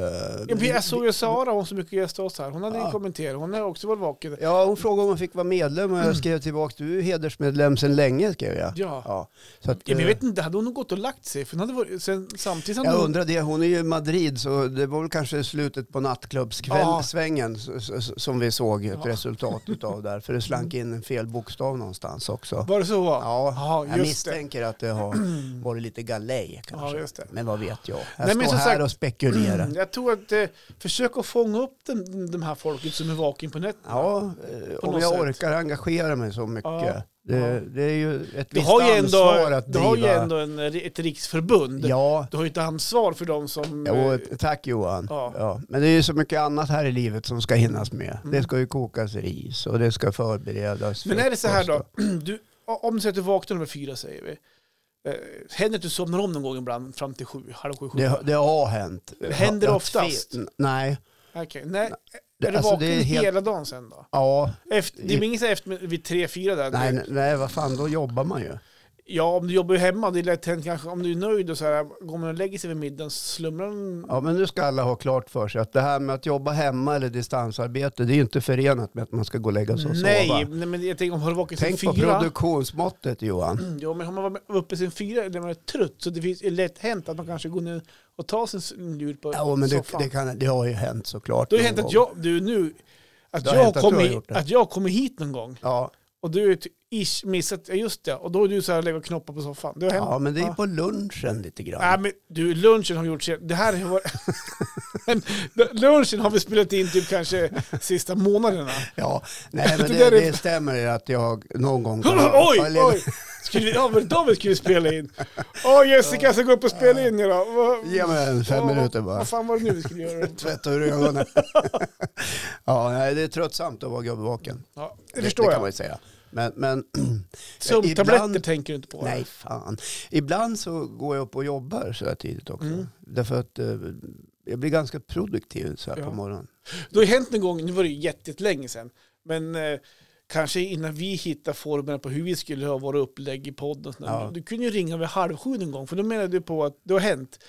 Jag, jag såg ju Sara, hon som mycket gäst oss här. Hon hade ju
Ja.
kommenterat. Hon har också varit vaken.
Ja, hon frågade om hon fick vara medlem och jag skrev tillbaka, du är hedersmedlem sedan länge skrev jag.
Mm. Ja.
Så att,
Ja, men
eh,
jag vet inte, hade hon nog gått och lagt sig? För hon hade varit, sen, samtidigt hade
jag
hon...
undrar det, hon är ju i Madrid så det var väl kanske slutet på
Ja.
nattklubbssvängen s- s- som vi såg ett
Ja.
resultat utav där. För det slank in en fel bokstav någonstans också.
Var det så?
Ja, jag
ja just det.
misstänker att det har varit lite galej kanske.
Ja, just det.
Men vad vet jag? Jag
Nej, men
står
som
här
sagt-
och spekulerar.
Jag tror att eh, försök att fånga upp den, de här folket som är vaken på nätterna.
Ja, eh,
På
om
något
jag
sätt.
orkar engagera mig så mycket.
Ja,
Det,
ja.
det är ju ett
Du
visst
har ju
ansvar
ändå,
att
du
driva.
har ju ändå en, ett riksförbund.
Ja,
Du har ju ett ansvar för de som...
Jo,
eh,
tack Johan.
Ja.
Ja. Men det är ju så mycket annat här i livet som ska hinnas med. Det ska ju kokas ris och det ska förberedas.
Mm. Men är det så här då,
frukost
du, om du säger att du vaknar nummer fyra säger vi. Eh, händer det att du somnar om någon gång ibland fram till sju, halv sju,
och-
sju?
Det, det har hänt.
Händer det
Att
oftast?
fe- Nej.
Okej, Nej.
Det-
är du
alltså, det
vaken
är helt-
hela dagen sen då?
Ja,
Efter, det är inget så här efter vid tre, fyra där?
nej,
Du-
nej, nej, vad fan, då jobbar man ju.
Ja, om du jobbar ju hemma, det är lätt hänt kanske. Om du är nöjd och så här, går man och lägger sig vid middagen, slumrar man...
Ja, men nu ska alla ha klart för sig att det här med att jobba hemma eller distansarbete, det är ju inte förenat med att man ska gå och lägga sig och
nej,
sova.
nej, men jag tänker om man har vaken sen
Tänk på
fyra. Mm.
produktionsmåttet Johan.
Ja, men om man var uppe sen fyra när man är trött så det finns, är lätt hänt att man kanske går ner och tar sig en lur på
Ja, men det,
soffan.
det, kan, det har ju hänt såklart.
Då har det
någon
hänt att
gång.
jag, du nu, att
Det har
jag,
hänt att du har
kommer,
gjort det.
att jag kommer hit någon gång
Ja,
och du är ty- ish missat, ja just det, och då är du så här lägger och knoppar på soffan. Det har hänt.
ja, men det är ju på lunchen lite grann.
Nej men du, lunchen har gjort sig, det här har varit- Men Lunchen har vi spelat in typ kanske sista månaderna.
Ja, nej men
Det
det,
där
det,
är-
stämmer ju att jag någon gång...
oj,
Eller-
oj! Skulle vi, ja men David skulle spela in. Åh Jessica ska gå upp och spela in idag. Vad-
Ge mig en fem
vad-
minuter bara.
Vad fan var det nu vi skulle göra?
Tvätta ur ögonen. ja, nej, det är tröttsamt att vara gubbvaken.
Ja, det förstår
det, det kan man
jag.
ju säga. Men, men
Sömntabletter
ibland-
tänker du inte på?
nej, fan. Ibland så går jag upp och jobbar så här tidigt också.
Mm.
Därför att eh, jag blir ganska produktiv så här
Ja.
på morgonen.
Det har ju hänt en gång, nu var det ju jättelänge sedan, men eh, kanske innan vi hittade formerna på hur vi skulle ha våra upplägg i podden. och sånt där.
Ja.
Du kunde ju ringa vid halv sju en gång, för då menade du på att det har hänt.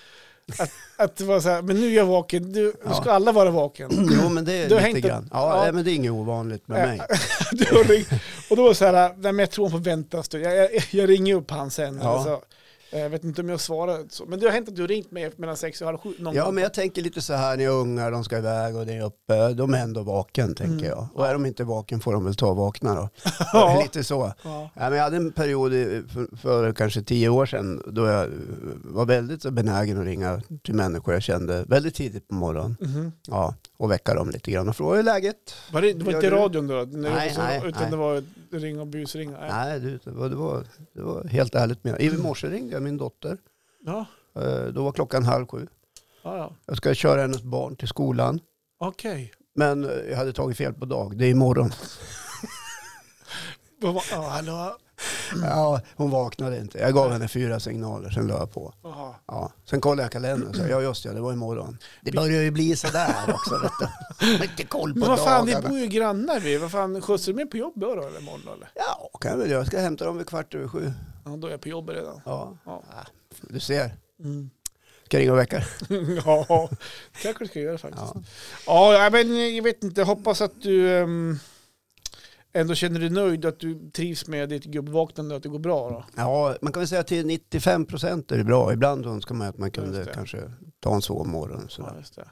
Att, att det var så här, men nu är jag vaken, du, nu ska
Ja.
alla vara vaken.
Jo, men det
Du
är
har
lite
hängt
grann.
ett-
Ja,
ja. Äh,
Nej, men det är inget ovanligt med mig.
du har ringt, och då var det så här, nej men jag tror hon får vänta en stund. jag, jag, jag ringer upp han sen.
Ja.
Eller så. Jag vet inte om jag svarar så. Men det har hänt att du har ringt mig mellan sex och halv sju någon
Ja,
gång.
men jag tänker lite så här när jag är unga, de ska iväg och det är uppe, de är ändå vaken tänker jag. Och är de inte vaken får de väl ta och vakna då.
Ja.
lite så.
Ja.
Ja, men jag hade en period i- för, för kanske tio år sedan då jag eh, var väldigt så benägen att ringa till människor jag kände väldigt tidigt på morgonen.
Mhm.
Ja, och väcka dem lite grann och fråga hur är läget?
Var det, det var
Gör
inte
du?
radion då? När
Nej,
nej, så,
nej,
utan
nej.
det var ring och busringa? Nej.
Nej, du, det, var, det, var, det var helt ärligt med. I morse ringde jag min dotter.
Ja,
Eh, Då var klockan halv sju.
ja, ja.
Jag ska köra hennes barn till skolan.
okej.
Men eh, jag hade tagit fel på dag. Det är imorgon.
Vad var- Ja, hallå.
Ja, hon vaknade inte. Jag gav henne fyra signaler, sen la jag på.
Jaha.
Ja. Sen kollade jag kalendern och sa, ja just ja, det var imorgon. Det börjar ju bli sådär också. Vet du. Man har Inte koll på
Men vad fan, vi
dagarna.
bor ju grannar vi. Vad fan, skjutsar du mig på jobbet då eller imorgon då, eller?
Ja, kan jag väl göra. Jag ska hämta dem vid kvart över sju.
Ja, då är jag på jobbet redan.
Ja.
Ja.
Du ser,
Mm.
ska jag ringa och väcka
ja, det kanske du ska göra faktiskt.
ja.
Ja, ja, men jag vet inte. Jag hoppas att du ehm, ändå känner dig nöjd och att du trivs med ditt gubbvaknande och att det går bra då.
ja, man kan väl säga att till 95 procent är det bra. Ibland önskar man att man
Just
kunde
det.
kanske ta en sovmorgon. och
Ja,
Sådär.
just det.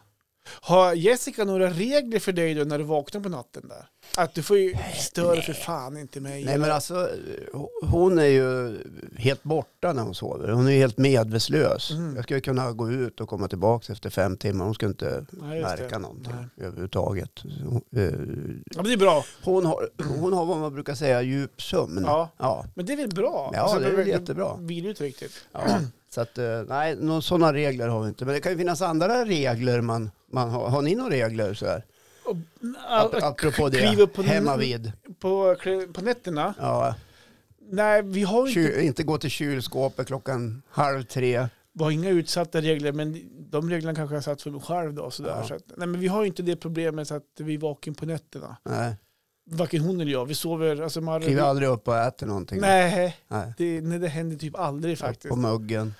Har Jessica några regler för dig då när du vaknar på natten där? Att du får ju störa för fan inte mig.
Nej men alltså, eh, hon är ju helt borta när hon sover. Hon är ju helt medvetslös.
Mm.
Jag ska ju kunna gå ut och komma tillbaka efter fem timmar. Hon ska inte
Nej, just det.
märka någonting
Nej.
överhuvudtaget. Så, eh,
Ja, men det är bra.
Hon har, hon har vad man brukar säga djup sömn.
Ja.
ja.
Men det är väl bra?
Ja, det är väl jättebra.
Vill ju inte riktigt.
Ja, så att, eh, nej, någon, sådana regler har vi inte. Men det kan ju finnas andra regler man, man har. Har ni några regler så här?
Och,
Ap-
äh,
apropå det,
kliva upp på-
hemma vid.
på, kl- på nätterna?
Ja,
Nej, vi har ju inte,
kyl, inte gå till kylskåpet klockan halv tre.
vi har inga utsatta regler, men de reglerna kanske jag har satt för mig själv då. Sådär.
Ja.
Så att, nej, men vi har ju inte det problemet så att vi är vaken på nätterna.
Nej,
Varken hon eller jag. Vi sover, alltså Marre,
kliva aldrig upp och äta någonting.
Nej,
Nej.
det, nej, det händer typ aldrig
På
faktiskt.
muggen.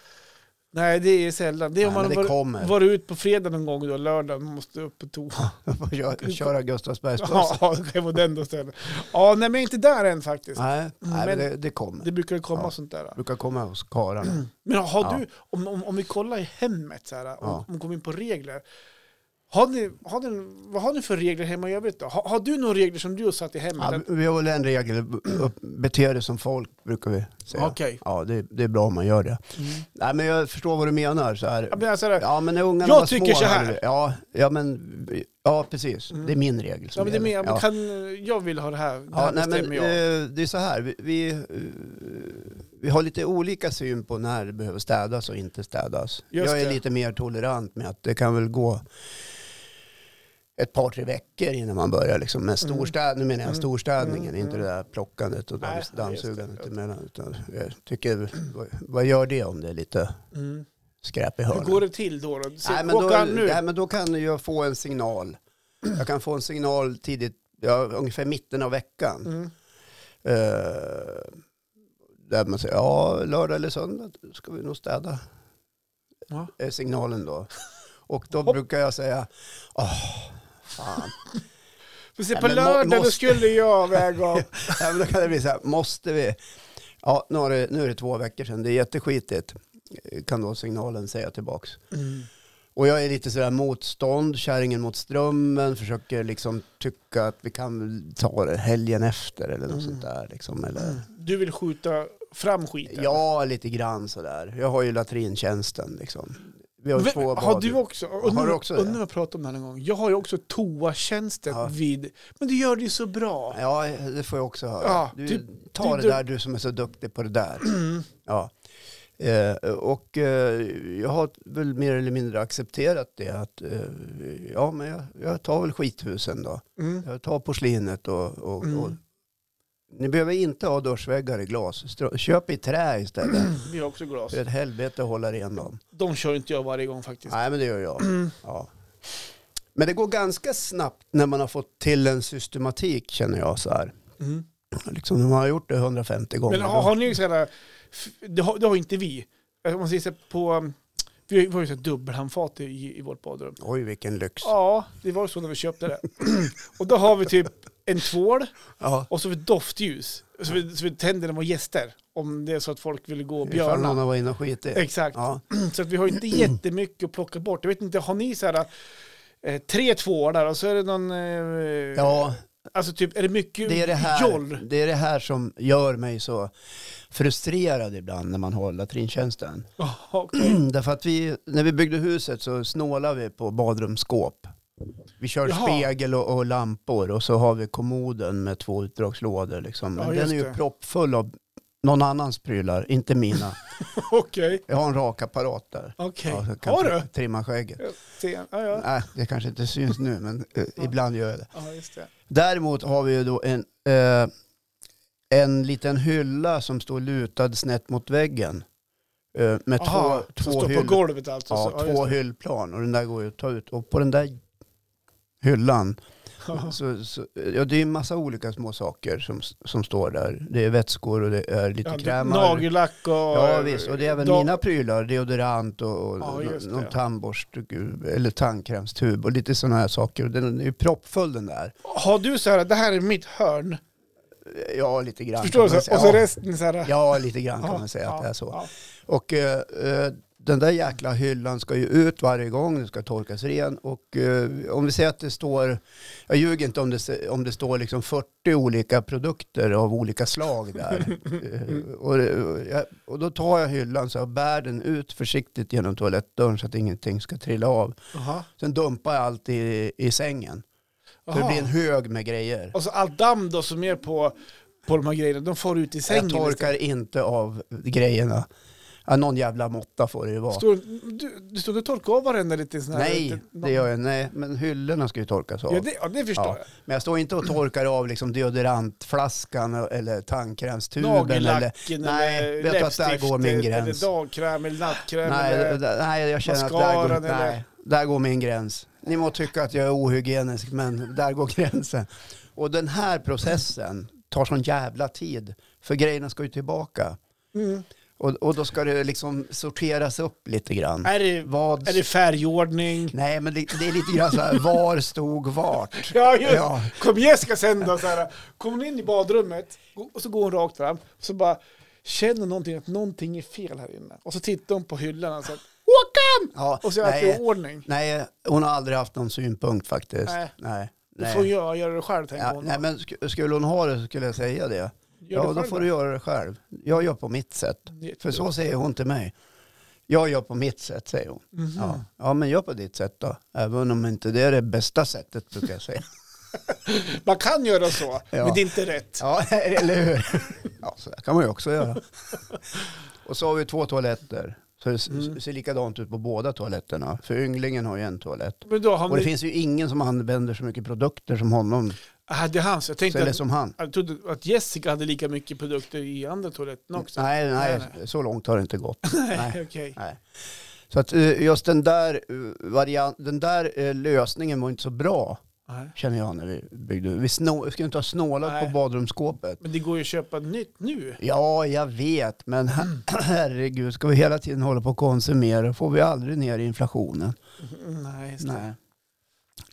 Nej, det är sällan. Det är om
Nej,
man
men det
har
kommer.
varit- varit ut på fredag någon gång då, lördag, man måste upp på toa.
Får köra, köra Gustavsbergsbussen.
Ja, det kan vara den då istället. Ja, nej men jag är inte där än faktiskt.
Nej, nej men
Men-
det, det kommer.
Det Mm. brukar ju komma
Ja.
sånt där.
Det brukar komma hos karlarna.
Men har
Ja.
du, om, om, om vi kollar i hemmet så här, om,
Ja.
om vi kommer in på regler. Har ni, har ni, vad har ni för regler hemma i övrigt då? Har, har du några regler som du har satt i hemmet?
Ja, vi har väl en regel, upp- bete dig som folk brukar vi säga.
Okej.
Ja, det, det är bra om man gör det.
Mm.
Nej, men jag förstår vad du menar. Så här.
Ja, men alltså, ja,
Ja, men när ungarna
Jag
var
tycker
små,
så här.
hade vi- Ja, ja, men, ja precis.
Mm.
Det är min regel som
men det är
gäller.
mer, man kan, jag vill ha det här, det här
Ja, nej, men,
bestämmer jag.
eh, det är så här, vi, vi, eh, vi har lite olika syn på när det behöver städas och inte städas.
Just
jag är
det.
lite mer tolerant med att det kan väl gå ett par, tre veckor innan man börjar liksom med storstäd, nu menar jag
Mm.
storstädningen,
Mm,
inte det där plockandet och
Nej,
damms,
just det.
dammsugandet emellan. Utan jag tycker, vad, vad gör det om det är lite
Mm.
skräp i
Hur
hörnen?
går det till då? då? Se,
eh, Nej men, då,
åka nu.
nej men då kan jag få en signal. Jag kan få en signal tidigt, ja, ungefär mitten av veckan.
Mm.
Eh, där man säger, ja lördag eller söndag ska vi nog städa.
Ja.
Är signalen då. Och då
Hopp.
brukar jag säga, åh, fan.
För se,
Nej,
på
men må-
lördag då
måste-
skulle jag väga av.
ja, men då kan det bli så här, måste vi? Ja, nu, har det, nu är det två veckor sedan, det är jätteskitigt. Kan då signalen säga tillbaks.
Mm.
Och jag är lite sådär motstånd, kärringen mot strömmen, försöker liksom tycka att vi kan väl ta det helgen efter eller något
Mm.
sånt där. Liksom, eller,
Du vill skjuta fram skiten?
Ja, lite grann sådär. Jag har ju latrintjänsten liksom. Vi har ju
Vem-
två
har
bad.
du också?
Har du också det?
Undrar om jag pratar om det här någon gång. Jag har ju också toatjänsten
Ja.
vid... Men du gör det ju så bra.
Ja, det får jag också höra.
Ja,
du,
typ-
ta
du-
det där du som är så duktig på det där. Ja. Eh, och eh, jag har väl mer eller mindre accepterat det att eh, ja, men jag, jag tar väl skithusen då.
Mm.
Jag tar porslinet och, och,
Mm.
och ni behöver inte ha dörrsväggar i glas. Strö- Köp i trä istället.
Vi har också glas.
Det är ett helvete att hålla rent dem.
De kör inte jag varje gång faktiskt.
Nej, men det gör jag.
Mm.
Ja. Men det går ganska snabbt när man har fått till en systematik känner jag så här.
Mm.
Liksom när man har gjort det 150 gånger.
Men har, har ni sådana... Det har, det har inte vi. Om man säger så här, på... um, Vi har ju- vi har ju så här dubbelhandfat i, i vårt badrum.
Oj, vilken lyx.
Ja, det var ju så när vi köpte det. Och då har vi typ en tvål
Ja.
och så ett doftljus. Så vi, så vi tänder när vi har gäster. Om det är så att folk vill gå och
Ifall någon
björna.
har varit inne och skitit.
Exakt.
Ja.
Så att vi har ju inte jättemycket att plocka bort. Jag vet inte, har ni så här eh, tre tvåor där och så är det någon... Eh,
ja,
Alltså typ, är det mycket
det är det, här,
joll?
det är det här som gör mig så frustrerad ibland när man har latrintjänsten.
Ja, okej.
Därför att vi, när vi byggde huset så snålade vi på badrumsskåp. Vi kör
Jaha.
spegel och, och lampor och så har vi kommoden med två utdragslådor. Liksom. Men
Ja,
den
just
är ju
det.
proppfull av någon annans prylar, inte mina.
Okej.
Jag har en rakapparat där.
Okej.
Ja, så kan
Har
jag
du?
Trimma skägget.
Jag ser- Ja, ja.
Nej, det kanske inte syns nu, men eh, ibland gör jag det.
ja just det.
Däremot har vi ju då en, eh, en liten hylla som står lutad snett mot väggen. Eh, med
Aha,
två,
som
två
står på
hyllor.
golvet alltså.
Ja,
så, ja,
två
just det.
hyllplan och den där går ju att ta ut. Och på den där hyllan,
Ja.
så, så, ja, det är en massa olika små saker som, som står där. Det är vätskor och det är lite
Ja,
krämar.
Nagellack och...
Ja visst, och det är även
da-
mina prylar, deodorant och, och
Ja, just
nå- någon
det.
tandborst eller tandkrämstub och lite sådana här saker. Och Den är ju proppfull den där.
Har du så här, det här är mitt hörn.
Ja, lite grann.
Förstår du?
kan man
Så, här, och
säga.
så resten så här...
ja, ja, lite grann kan
ja,
man säga att det är
ja,
så.
ja.
Och eh, eh, den där jäkla hyllan ska ju ut varje gång, den ska torkas ren. Och eh, om vi säger att det står, jag ljuger inte om det, se- om det står liksom 40 olika produkter av olika slag där. Eh, och, det- och jag, och då tar jag hyllan så jag bär den ut försiktigt genom toalettdörren så att ingenting ska trilla av.
Aha.
Sen dumpar jag allt i, i sängen. Så det
Aha.
blir en hög med grejer.
Och så allt damm då som är på, på de här grejerna, de far ut i sängen.
Jag torkar inte av grejerna. Ja, någon jävla måtta får det ju vara.
Står, du, du står inte och torkar av varenda liten sån här...
Nej,
liten-
det gör jag Nej, men hyllorna ska ju torkas av.
Ja, det, ja, det förstår
Ja.
jag.
Men jag står inte och torkar av liksom deodorantflaskan eller tandkrämstuben. eller,
Nagellacken
nej, vet
eller
du att där
läppstift
går min
eller-
gräns.
Eller dagkräm eller nattkräm.
nej,
eller,
d- nej, jag känner att där går,
mascaran eller-
nej, där går min gräns. Ni må tycka att jag är ohygienisk, men där går gränsen. Och den här processen tar sån jävla tid, för grejerna ska ju tillbaka.
mm.
Och, och då ska det liksom sorteras upp lite grann.
Är det,
Vad...
är det färgordning?
Nej, men det, det är lite grann så här, var stod vart?
Ja, just.
Ja.
Kom Jessica sen då, så här, kom hon in i badrummet och så går hon rakt fram och så bara känner någonting att någonting är fel här inne. Och så tittar hon på hyllan och så här, Håkan!
Ja,
Och så är det
nej,
ordning.
nej, hon har aldrig haft någon synpunkt faktiskt.
Nej.
nej.
Då
nej.
får jag göra det själv, tänker
Ja,
hon.
nej men sk- skulle hon ha det så skulle jag säga det.
Gör det
ja, då
själv
får du göra det själv. Jag gör på mitt sätt. För så säger hon till mig. Jag gör på mitt sätt, säger hon.
Mhm.
Ja. ja, men gör på ditt sätt då. Även om inte det är det bästa sättet, brukar jag säga.
Man kan göra så,
Ja.
men det är inte rätt.
Ja, eller hur? Ja, så där kan man ju också göra. Och så har vi två toaletter. Så det s-
Mm.
ser likadant ut på båda toaletterna. För ynglingen har ju en toalett.
Men då
Och
hamnar
det finns ju ingen som använder så mycket produkter som honom.
Ah, det är hans. Jag
Så,
tänkte
eller
att,
som han.
jag trodde att Jessica hade lika mycket produkter i andra toaletten också.
Nej, nej,
Nej,
så långt har det inte gått. nej.
Okej.
Nej. Så att eh, just den där, eh, varian, den där eh, lösningen var inte så bra,
Nej.
känner jag när vi byggde. Vi, snå, vi skulle inte ha snålat
Nej.
på badrumsskåpet.
Men det går ju att köpa nytt nu.
Ja, jag vet, men her-
Mm.
herregud, ska vi hela tiden hålla på och konsumera får vi aldrig ner inflationen.
Mm-hmm. Nej, just det.
Nej.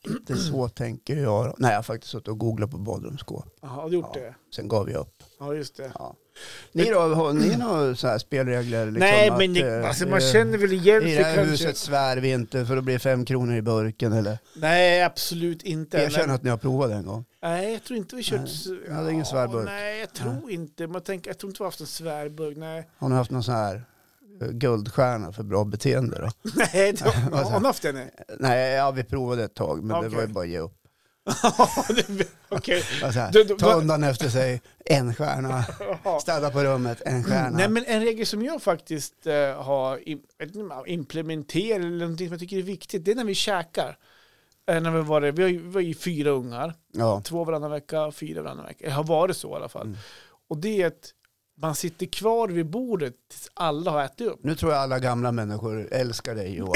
Inte så tänker jag. Nej, jag har faktiskt suttit och googlat på badrumsskåp.
Jaha, har du gjort
Ja.
det?
Sen gav jag upp.
Ja, just det.
Ja. Ni då, har ni några så här spelregler? Liksom
Mm. Nej,
att,
men det,
eh,
alltså, man
eh,
känner väl igen
I
sig
det här
kanske.
huset svär vi inte för då blir det fem kronor i burken eller?
Nej, absolut inte.
Jag känner att ni har provat det en gång.
Nej, jag tror inte vi kört...
Nej,
s-
jag hade ingen svärburk.
Nej, jag tror inte. Man tänker, jag tror inte vi har haft en svärburk. Nej,
Har ni haft någon sån här eh, guldstjärna för bra beteende då?
nej det har
Vad sa-
har man haft det? nej?
Nej, ja, vi provade ett tag men det
Okej.
var ju bara att ge upp.
Det- Okej.
Alltså, här,
Du- du-
ta undan efter sig en stjärna,
Jaha.
städa på rummet, en stjärna.
Mm, Nej, men en regel som jag faktiskt eh, har im- jag vet inte om jag har implementerat eller någonting som jag tycker är viktigt, det är när vi käkar. Eh, när vi, var det, vi, har, ju- vi var ju fyra ungar,
Ja.
två varannan vecka, fyra varannan vecka. Det har varit så i alla fall.
Mm.
Och det är att man sitter kvar vid bordet tills alla har ätit upp.
Nu tror jag alla gamla människor älskar dig Johan.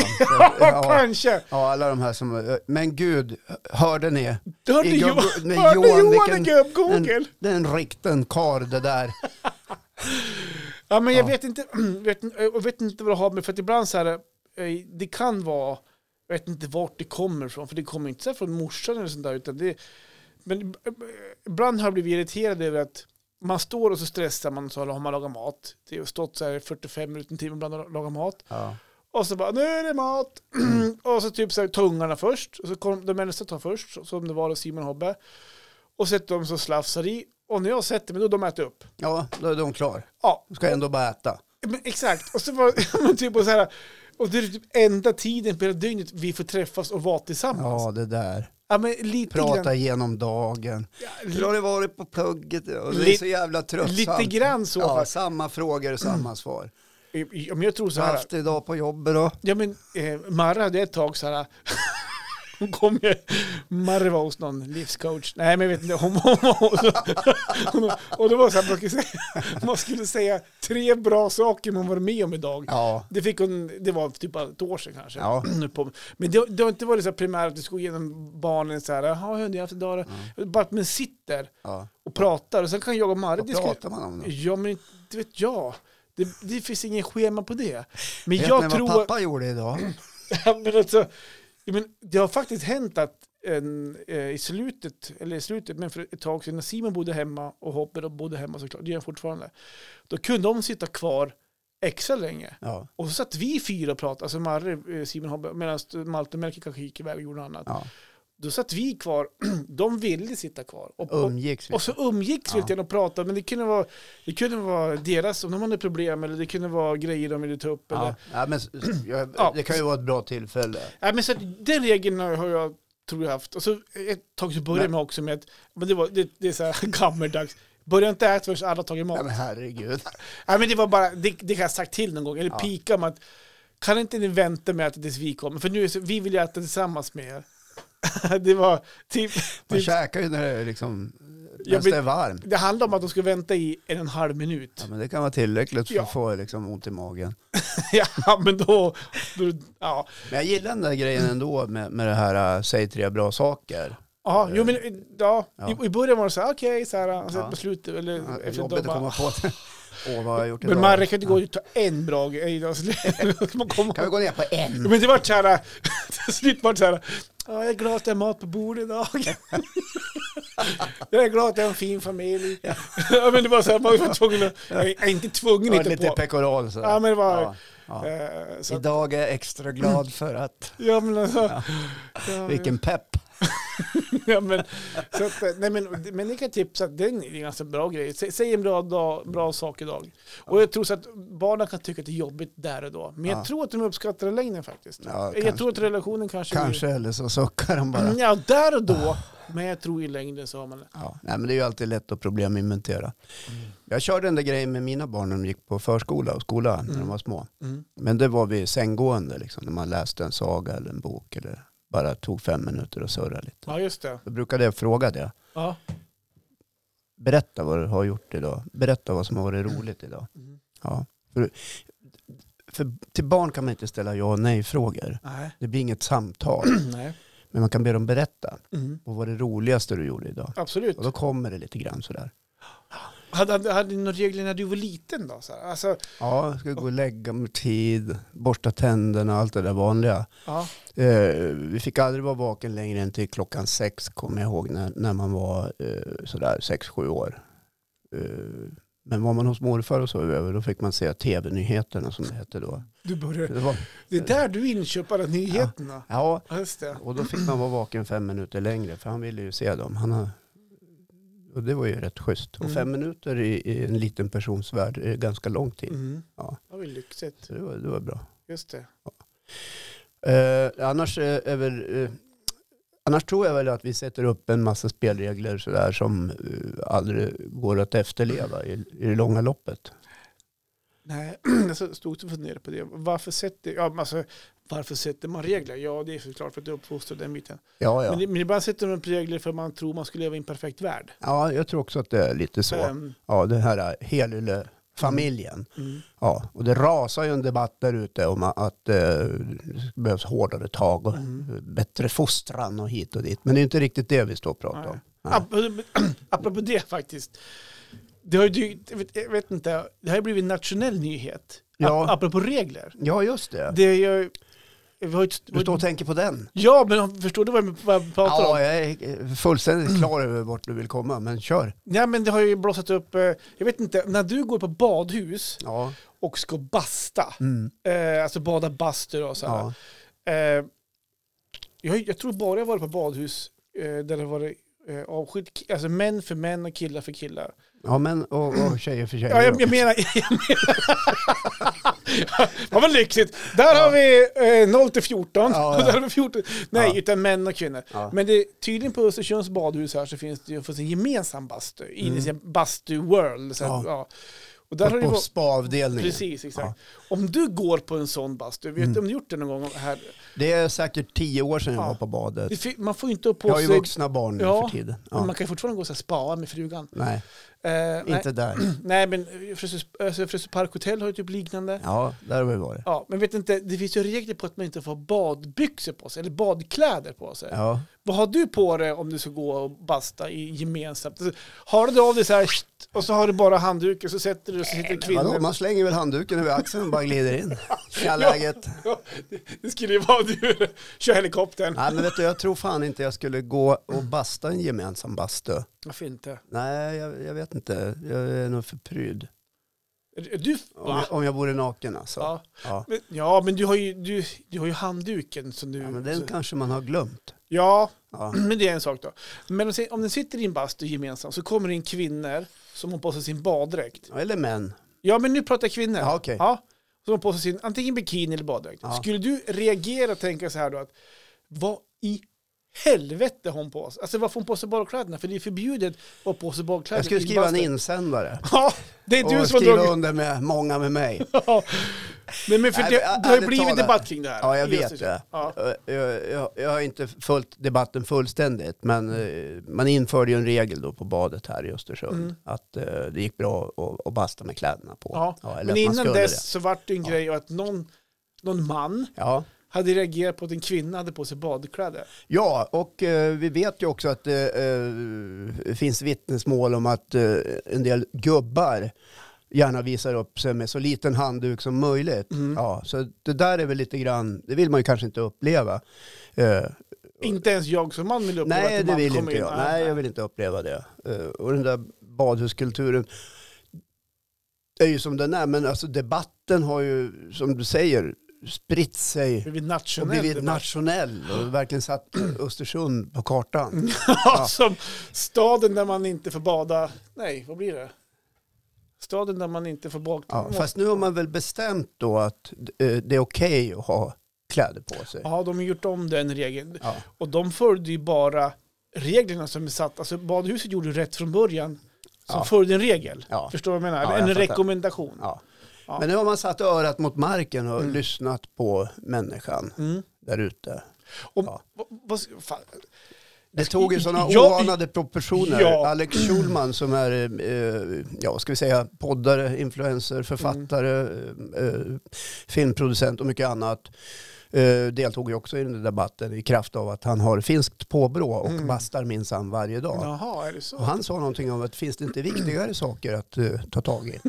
Ja, kanske!
ja, alla de här som... eh, Men gud, hörde ni?
Du hörde
I gubb-
Johan,
med
hörde
Johan,
Johan i
vilken-
gubb-Google!
Den rikten kar det där.
Ja, men jag
Ja.
vet inte, vet, jag vet inte vad det har med, för att ibland så här, eh, det kan vara, jag vet inte vart det kommer ifrån, för det kommer inte så här från morsan eller sånt där, utan det, men eh, ibland har jag blivit irriterad över att man står och så stressar man, så har man lagat mat. Det har stått så här 45 minuter, en timme ibland och lagat mat.
Ja.
Och så bara, nu är det mat! och så typ så här, tungarna först, och så kom de äldsta tar först, så- som det var då Simon och Hobbe. Och sätter de så slafsar i, och när jag sätter mig, då har de ätit upp.
ja, då är de klar.
Ja,
De ska ändå bara äta.
Men exakt, och så var men typ och så här, och det är typ enda tiden på hela dygnet vi får träffas och vara tillsammans. Ja,
Ja, det där.
men lite
Prata
grann,
igenom dagen.
ja,
Hur har det varit på plugget? Och det
Li-
är så jävla tröttsamt.
lite grann så
ja,
fast.
samma frågor och samma svar.
Ja, men jag tror så
Så
här,
haft idag på jobbet då?
ja men eh, Marra hade ett tag så här, hon kom ju, Marra var hos någon livscoach, nej men jag vet inte, hon, hon, hon, hon och det var så här, man skulle, säga, man skulle säga tre bra saker man varit med om idag.
Ja.
Det fick hon, det var typ bara ett år sedan kanske.
Ja.
Nu på- Men det, det har inte varit så här primärt att du ska gå igenom barnen så här, jaha hur har ni haft idag då?"
Mm.
Bara att man sitter
ja.
och pratar och sen kan jag och Marre
Vad
diskutera.
pratar man om då?
Ja men det vet jag. Det, det finns ingen schema på det. Men
Vet ni
jag
vad
tror...
pappa gjorde idag?
Ja, men alltså, ja, men det har faktiskt hänt att en, eh, i slutet, eller i slutet, men för ett tag sedan när Simon bodde hemma och Hopper och bodde hemma såklart, det gör han fortfarande, då kunde de sitta kvar extra länge.
Ja.
Och så satt vi fyra och pratade, alltså Marre, eh, Simon Hobbe, medan Malte och Melker kanske gick iväg och gjorde något annat.
ja.
Då satt vi kvar, de ville sitta kvar. Och, och,
Umgicks vi?
och så umgicks vi
Ja.
lite grann och pratade, men det kunde, vara, det kunde vara deras, om de hade problem, eller det kunde vara grejer de ville ta upp. Eller,
Ja. Ja, men, s- s- jag,
Ja.
Det kan ju vara ett bra tillfälle.
Nej, men så att den regeln har jag, tror jag haft. Och så ett tag så började
Men-
med också med att, men det, var, det, det är så här gammeldags. Börja inte äta förrän alla har tagit mat.
Ja, men herregud.
Nej, men det var bara, det, det kan jag ha sagt till någon gång, eller
Ja.
pika om att kan inte ni vänta med att äta tills vi kommer? För nu är det så, vi vill ju äta tillsammans med er. det var typ,
Man
typ
käkar ju när det är liksom,
Ja,
när det
men-
är varmt.
det handlar om att de ska vänta i en och en halv minut.
Ja, men det kan vara tillräckligt för
Ja.
att få liksom, ont i magen.
ja, men då, då ja.
Men jag gillar den där grejen ändå med, med det här äh, säg tre bra
Mm,
saker.
Ja, jo, men, ja.
Ja.
I, I början var det så här, okej, så här, och sen
Ja.
på slutet, eller
Ja,
efter ett
Jobbigt
tag
att komma
bara,
på. Åh, vad har jag gjort idag?
Men man kan inte gå ut och ta en bra grej. idag, så det- man kommer-
Kan vi gå ner på en?
Men det vart så här, till slut vart det så här, ja, jag är glad att jag har mat på bordet idag. jag är glad att jag har en fin familj. Ja. men det var så här, man var tvungen att, jag är inte tvungen
Ja,
inte
lite
på.
pekoral så.
Ja, men det var,
Ja, ja.
eh, så, att-
Idag är jag extra glad för att,
ja, men alltså, ja,
vilken pepp.
ja, men, så att, eh, nej, men, men ni kan tipsa, att det är en det är en ganska bra grej. Sä- Säg en bra, dag, bra sak idag. Och jag tror så att barnen kan tycka att det är jobbigt där och då. Men jag
Ja.
tror att de uppskattar det längre faktiskt.
Ja,
jag
kanske.
tror att relationen kanske... blir-
Kanske, eller så suckar de bara.
Mm, Ja, där och då. Men jag tror i längden så har man
Ja, nej, men det är ju alltid lätt att probleminventera.
Mm.
Jag körde den där grejen med mina barn när de gick på förskola och skola när de var små.
Mm.
Men det var vid sänggående, liksom, när man läste en saga eller en bok eller bara tog fem minuter och surrade lite.
Ja, just det.
Då brukade jag fråga det.
Ja.
Berätta vad du har gjort idag. Berätta vad som har varit roligt idag.
Mm.
Ja. För, för till barn kan man inte ställa ja och nej-frågor.
Nej.
Det blir inget samtal.
Nej.
Men man kan be dem berätta.
Mm.
Vad var det roligaste du gjorde idag?
Absolut.
Och då kommer det lite grann sådär.
Hade, hade, hade ni några regler när du var liten då? Så här? Alltså,
Ja, jag ska gå och lägga mig tid, borsta tänderna, allt det där vanliga.
ja.
Eh, vi fick aldrig vara vaken längre än till klockan sex, kommer jag ihåg, när, när man var eh, sådär sex, sju år. Eh, men var man hos morfar och så över, då fick man se tv-nyheterna som det hette då.
Du började,
Det var,
det är där du inköper alla nyheterna.
ja,
Ja. Just det.
och då fick man vara vaken fem minuter längre, för han ville ju se dem. Han har, och det var ju rätt schysst. Och
Mm.
fem minuter i, i en liten persons värld är ganska lång tid.
Mm.
Ja.
Det var ju lyxigt.
Så det var, det var bra.
Just det.
Eh, annars, eh, är väl, eh, annars tror jag väl att vi sätter upp en massa spelregler sådär som eh, aldrig går att efterleva i, i det långa loppet.
Nej, jag Alltså, stod och funderade på det. Varför sätter, ja, men alltså, varför sätter man regler? Ja, det är såklart för att du uppfostrar den biten.
Ja,
Men,
ja.
det- men ibland sätter man upp regler för att man tror man ska leva i en perfekt värld.
ja jag tror också att det är lite så.
Ehm,
Ja, det här eh, Helylle-familjen.
mm.
Ja, och det rasar ju en debatt där ute om a- att eh, det behövs hårdare tag och
Mm.
eh, bättre fostran och hit och dit. Men det är inte riktigt det vi står och pratar
Nej.
om. Nej.
Apropå, apropå det faktiskt. Det har ju, dykt- jag vet, jag vet inte, det har ju blivit en nationell nyhet.
Ja.
Ja. Apropå regler.
Ja, just det.
Det är ju... Vi har ju,
Du står och tänker på den.
ja, men förstår du vad jag, vad jag pratar
Ja,
om?
jag är fullständigt klar över vart du vill komma, men kör.
Nej, men det har ju blossat upp, eh, jag vet inte, när du går på badhus
Ja,
och ska basta,
mm.
eh, alltså bada bastu och så här.
ja.
Eh, jag, jag tror bara jag varit på badhus eh, där det varit eh, avskilt, ki- alltså män för män och killar för killar.
ja men och, och tjejer för tjejer.
Ja, jag,
då.
jag menar... Jag menar ja, vad lyxigt. Där har vi eh, 0 till 14.
Ja,
Och
ja.
där har vi 14. Nej,
Ja.
utan män och kvinnor.
Ja.
Men det, tydligen på Östersunds badhus här så finns det ju finns en gemensam bastu. In i sin bastu world. Så här,
Mm. Ja.
ja. Och där har det
på
varit,
spaavdelningen.
Precis, exakt. Om du går på en sån bastu,
Mm.
vet du om du gjort det någon gång här?
Det är säkert tio år sedan jag
Ja.
var på
Det,
badet.
fi- man får ju inte ha på
Jag har
sig...
ju vuxna barn nu
Ja,
för tiden.
Men
Ja.
Man kan ju fortfarande gå och så här spa med frugan.
Nej,
Eh, nej,
inte där.
nej, men Frösö alltså, Frösö Park Hotel har ju typ liknande.
Ja, där har vi varit.
Ja, men vet inte, det finns ju regler på att man inte får ha badbyxor på sig, eller badkläder på sig.
Ja.
Vad har du på dig om du ska gå och basta i gemensamt? Alltså, Har du av dig så här, shit, och så har du bara handduken, så sätter du dig och så sitter
Vadå,
kvinnor.
man slänger väl handduken över axeln och bara glider in. Tja läget.
Ja, det- det skulle ju vara du kör helikoptern.
Nej men vet du, jag tror fan inte jag skulle gå och basta en gemensam bastu.
Varför inte?
Nej, jag, jag vet inte. Jag är nog för pryd.
Är Du,
Om
va?
jag, om jag vore naken alltså.
Ja.
Ja.
Men, ja, men du har ju, du, du har ju handduken som du...
Ja, men den kanske man har glömt.
ja,
Ja.
men det är en sak då. Men om- om ni sitter i en bastu gemensamt så kommer det in kvinnor som har på sig sin baddräkt.
Eller män.
Ja, men nu pratar jag kvinnor.
Ja, okej.
Ja, som har på sig sin antingen bikini eller baddräkt.
Ja.
Skulle du reagera och tänka så här då att vad i helvete har hon på sig? Alltså varför har hon på sig badkläderna? För det är förbjudet att ha på sig badkläder.
Jag skulle
i
skriva en
bastun.
insändare.
Ja, det är du
Och
som har
skriva
dragit...
under med många med mig.
Ja. Nej, men för
Nej,
det,
men
det har ju
ärligt
blivit
talat.
debatt kring det här.
Ja, jag
Just
vet det.
Ja.
Jag, jag, jag har inte följt debatten fullständigt, men eh, man införde ju en regel då på badet här i Östersund
Mm.
att eh, det gick bra att, att basta med kläderna på.
Ja.
eller
men
att man
innan
skulle
dess
det.
så vart det en grej att någon, någon man
Ja.
hade reagerat på att en kvinna hade på sig badkläder.
ja, och eh, vi vet ju också att det eh, finns vittnesmål om att eh, en del gubbar gärna visar upp sig med så liten handduk som möjligt.
Mm.
Ja, så det där är väl lite grann, det vill man ju kanske inte uppleva. Eh,
Inte ens jag som man vill uppleva
Nej,
att en
det
man
vill
kommer
inte
in.
jag. Nej, jag vill inte uppleva det. Eh, Och den där badhuskulturen är ju som den är, men alltså debatten har ju, som du säger, spritt sig
Blivit
och
nationell
blivit
debatt.
nationell och verkligen satt eh, Östersund på
Mm.
kartan.
Ja, som staden där man inte får bada. Nej, vad blir det? Staden där man inte får bada.
Ja, fast nu har man väl bestämt då att eh, det är okej att ha kläder på sig.
Ja, de har gjort om den regeln.
Ja.
Och de följde ju bara reglerna som är satt. Alltså badhuset gjorde rätt från början. Som
Ja.
följde en regel.
Ja.
Förstår du vad jag menar?
Ja, jag
en
fattar.
rekommendation.
Ja.
Ja.
Men nu har man satt örat mot marken och
Mm.
lyssnat på människan
Mm.
där ute.
Och,
Ja.
vad, vad, fan,
Det tog ju sådana
Ja,
oanade proportioner.
ja.
Alex Schulman som är, eh, ja vad ska vi säga, poddare, influencer, författare,
Mm.
eh, filmproducent och mycket annat. Eh, deltog ju också i den där debatten i kraft av att han har finskt påbrå och
Mm.
bastar minsann varje dag.
Jaha, är det så?
Och han sa någonting om att finns det inte viktigare saker att eh, ta tag i?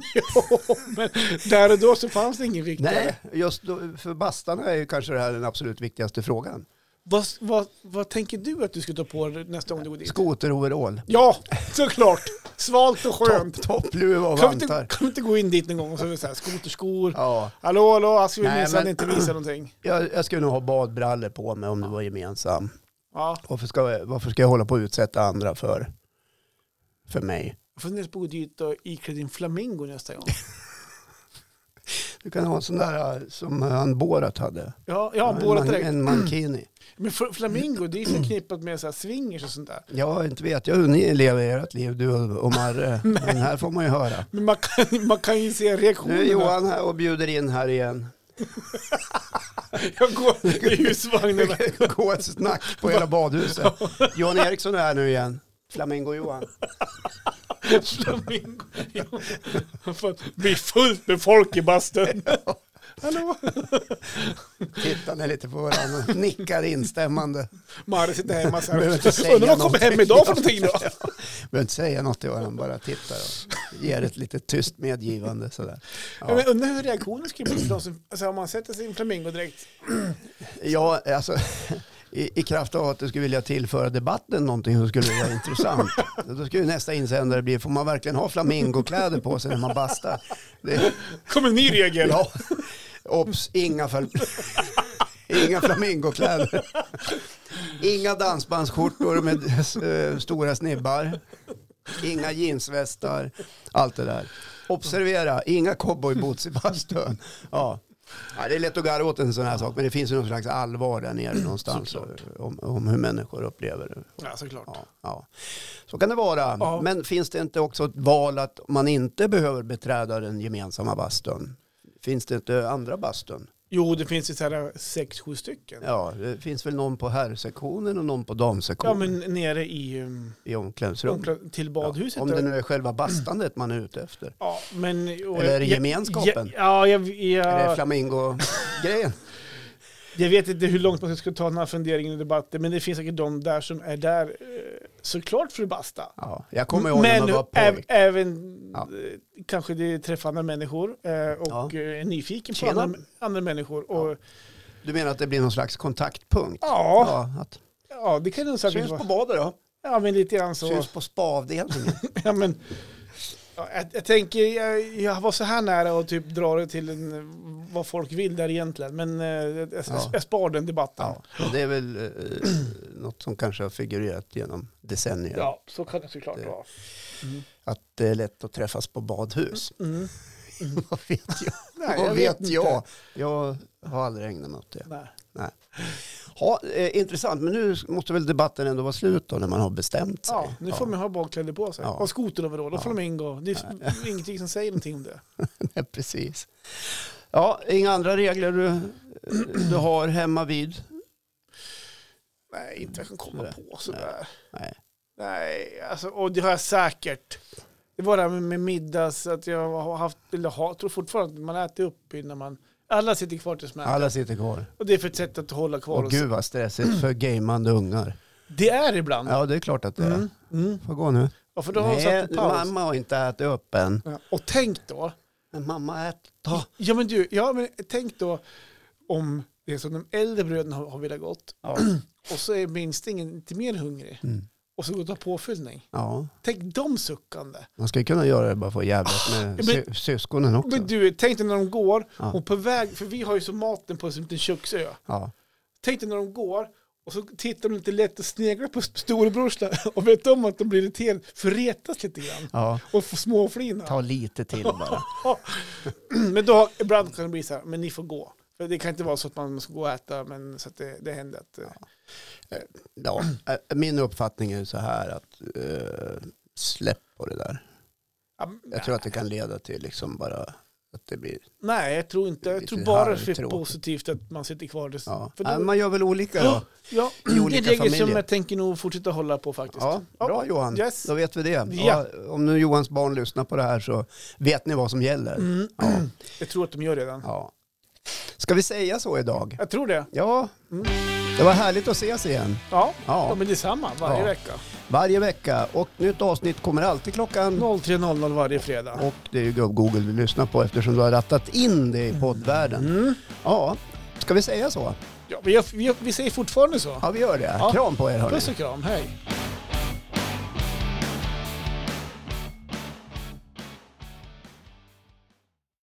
Men där och då så fanns det ingen viktigare.
Nej, just då, för bastarna är ju kanske det här den absolut viktigaste frågan.
Vad, vad, vad tänker du att du ska ta på dig nästa gång du går dit?
Skoteroverall,
Ja, såklart. Svalt och skönt.
topp, toppluva och
Kan vi, inte,
vantar.
kan vi inte gå in dit någon gång och så är det så här, skoterskor.
Ja.
Hallå, hallå, jag skulle
Nej,
visa
men-
inte visa någonting.
Jag, jag skulle nog ha badbrallor på mig om det var gemensam.
Ja,
Varför ska, jag- varför ska jag hålla på att utsätta andra för, för mig?
jag funderar på att gå dit och iklä din flamingo nästa gång.
Du kan ha en sån där eh, som han Borat hade.
Ja, ja
en,
båda
man-
direkt.
en mankini.
Men fl- flamingo, det är ju förknippat med så här swingers och sånt där.
Ja, inte vet jag hur ni lever ert liv, du och och Marre. Men här får man ju höra.
Men man kan, man kan ju se
Nu är
reaktionerna.
Johan här och bjuder in här igen.
Jag går i husvagnen.
Gå ett snack på hela badhuset. Johan Eriksson är här nu igen. Flamingo-Johan.
Flamingo. Fan, Det blir fullt med folk i bastun. Hallå?
Tittar ni lite på varandra. Nickar instämmande.
Mare sitter hemma så här.
Behöver inte säga
Undrar vad kommer hem idag för någonting då?
Behöver inte säga något till varandra, bara tittar och ger ett lite tyst medgivande sådär.
Ja.
Ja,
Men undrar hur reaktionen skulle bli för de som, alltså om man sätter sig i en flamingo direkt.
ja alltså, i, i kraft av att du skulle vilja tillföra debatten någonting som skulle vara intressant. Då skulle ju nästa insändare bli, får man verkligen ha flamingokläder på sig när man bastar? Det,
Kommer en ny regel.
ja, obs, inga, fl inga flamingokläder. Inga dansbandsskjortor med eh, stora snibbar. Inga jeansvästar. Allt det där. Observera, inga cowboyboots i bastun. Ja. Ja, det är lätt att garva åt en sån här sak, men det finns ju någon slags allvar där nere någonstans eh, om, om hur människor upplever det.
Ja, såklart.
Ja, ja. Så kan det vara.
Ja.
Men finns det inte också ett val att man inte behöver beträda den gemensamma bastun? Finns det inte andra bastun?
Jo, det finns ju så här äh, sex, sju stycken. Ja,
Ja, det finns väl någon på herrsektionen och någon på damsektionen
men nere i um,
i omklädningsrum.
omkläd- till badhuset.
Om
där.
det nu är själva bastandet man är ute efter.
Ja, men, och,
Eller är det
ja,
gemenskapen?
Ja, ja, jag,
Är det
jag,
flamingo-grejen?
jag vet inte hur långt man ska ta den här funderingen i debatten, men det finns säkert de där som är där eh, såklart för att basta.
Ja, jag kommer ihåg när
men
man var
äv,
pojk.
även
Ja.
eh, kanske det träffar andra människor eh, och
Ja.
eh, är nyfiken på
Tjena.
andra, andra människor. Och,
Du menar att det blir någon slags kontaktpunkt?
ja.
Ja, att,
ja, det kan det säkert
syns på
vara.
badet då?
Ja, men lite grann så.
Syns på spaavdelningen?
Ja, men, ja, jag, jag tänker, jag, jag var så här nära att typ dra det till en, vad folk vill där egentligen, men eh, jag, jag,
Ja.
jag spar den debatten.
Ja,
Ja.
det är väl eh, något som kanske har figurerat genom decennier.
så kan det såklart
Det-
vara.
Att det är lätt att träffas på badhus.
Mm.
Vad vet jag?
Nej,
Vad vet,
inte.
jag? Jag har aldrig ägnat mig åt det.
Nej.
Ja, eh, intressant, men nu måste väl debatten ändå vara slut då när man har bestämt sig.
Ja, nu får man ha badkläder på sig.
Ja.
Och skoteroverall och
Ja.
flamingo. Det är ingenting som säger någonting om det.
Nej, Precis. Ja, inga andra regler du, eh, du har hemma vid?
Nej, inte jag kan komma
Sådär.
på sådär.
Nej.
Nej, alltså, och det har jag säkert. Det var det här med, med middags, att jag har haft, eller har, tror fortfarande att man äter upp innan man, alla sitter kvar tills man äter.
Alla sitter kvar.
Och det är för ett sätt att hålla kvar.
Och
oss.
gud vad stressigt för gamande ungar.
Det är ibland.
Ja, det är klart att det är.
Mm. Mm.
Får gå nu.
Ja, för då har hon
Nej,
satt en paus.
mamma har inte ätit upp än.
Ja, Och tänk då.
Men mamma äter. Ta.
Ja men du, ja, men tänk då om det är som de äldre bröderna har, har velat gått
Ja.
och så är minstingen inte mer hungrig
Mm.
och så går det att ha påfyllning.
ja,
Tänk dem suckande.
man ska ju kunna göra det bara för jävligt med
men-
sy- syskonen också.
Men du, tänk dig när de går
Ja.
och på väg, för vi har ju så maten på en liten köksö.
Ja.
Tänk dig när de går och så tittar de lite lätt och sneglar på st- storebrors där och vet om att de blir irriterade, för retas lite grann
ja,
och får småflina.
ta lite till bara.
Men då ibland kan det bli så här, men ni får gå. För det kan inte vara så att man ska gå och äta, men så att det, det händer att... eh,
Ja, eh, min uppfattning är ju så här att eh, släpp på det där.
Ja, men-
Jag tror att det kan leda till liksom bara att det blir...
Nej, jag tror inte. Jag
Lite
tror bara det är
halvtråkigt.
positivt att man sitter kvar. Det-
Ja.
För då-
Nej, man gör väl olika då.
ja, ja,
I
det är
olika
regler som
familjer.
jag tänker nog fortsätta hålla på faktiskt.
Ja, bra Johan,
Yes.
då vet vi det.
Ja.
Ja. Om nu Johans barn lyssnar på det här så vet ni vad som gäller.
Mm.
Ja.
Jag tror att de gör redan.
Ja. Ska vi säga så idag?
Jag tror det.
Ja,
Mm.
det var härligt att ses igen.
Ja, ja.
Ja,
men detsamma varje
Ja.
vecka.
varje vecka och nytt avsnitt kommer alltid klockan.
03.00 varje fredag.
Och det är ju Gubb-Google du lyssnar på eftersom du har rattat in det i poddvärlden.
Mm.
Ja, ska vi säga så?
Ja, vi, gör- vi, gör- vi säger fortfarande så.
Ja, vi gör det.
Ja.
Kram på er hörni.
Puss och kram, hej.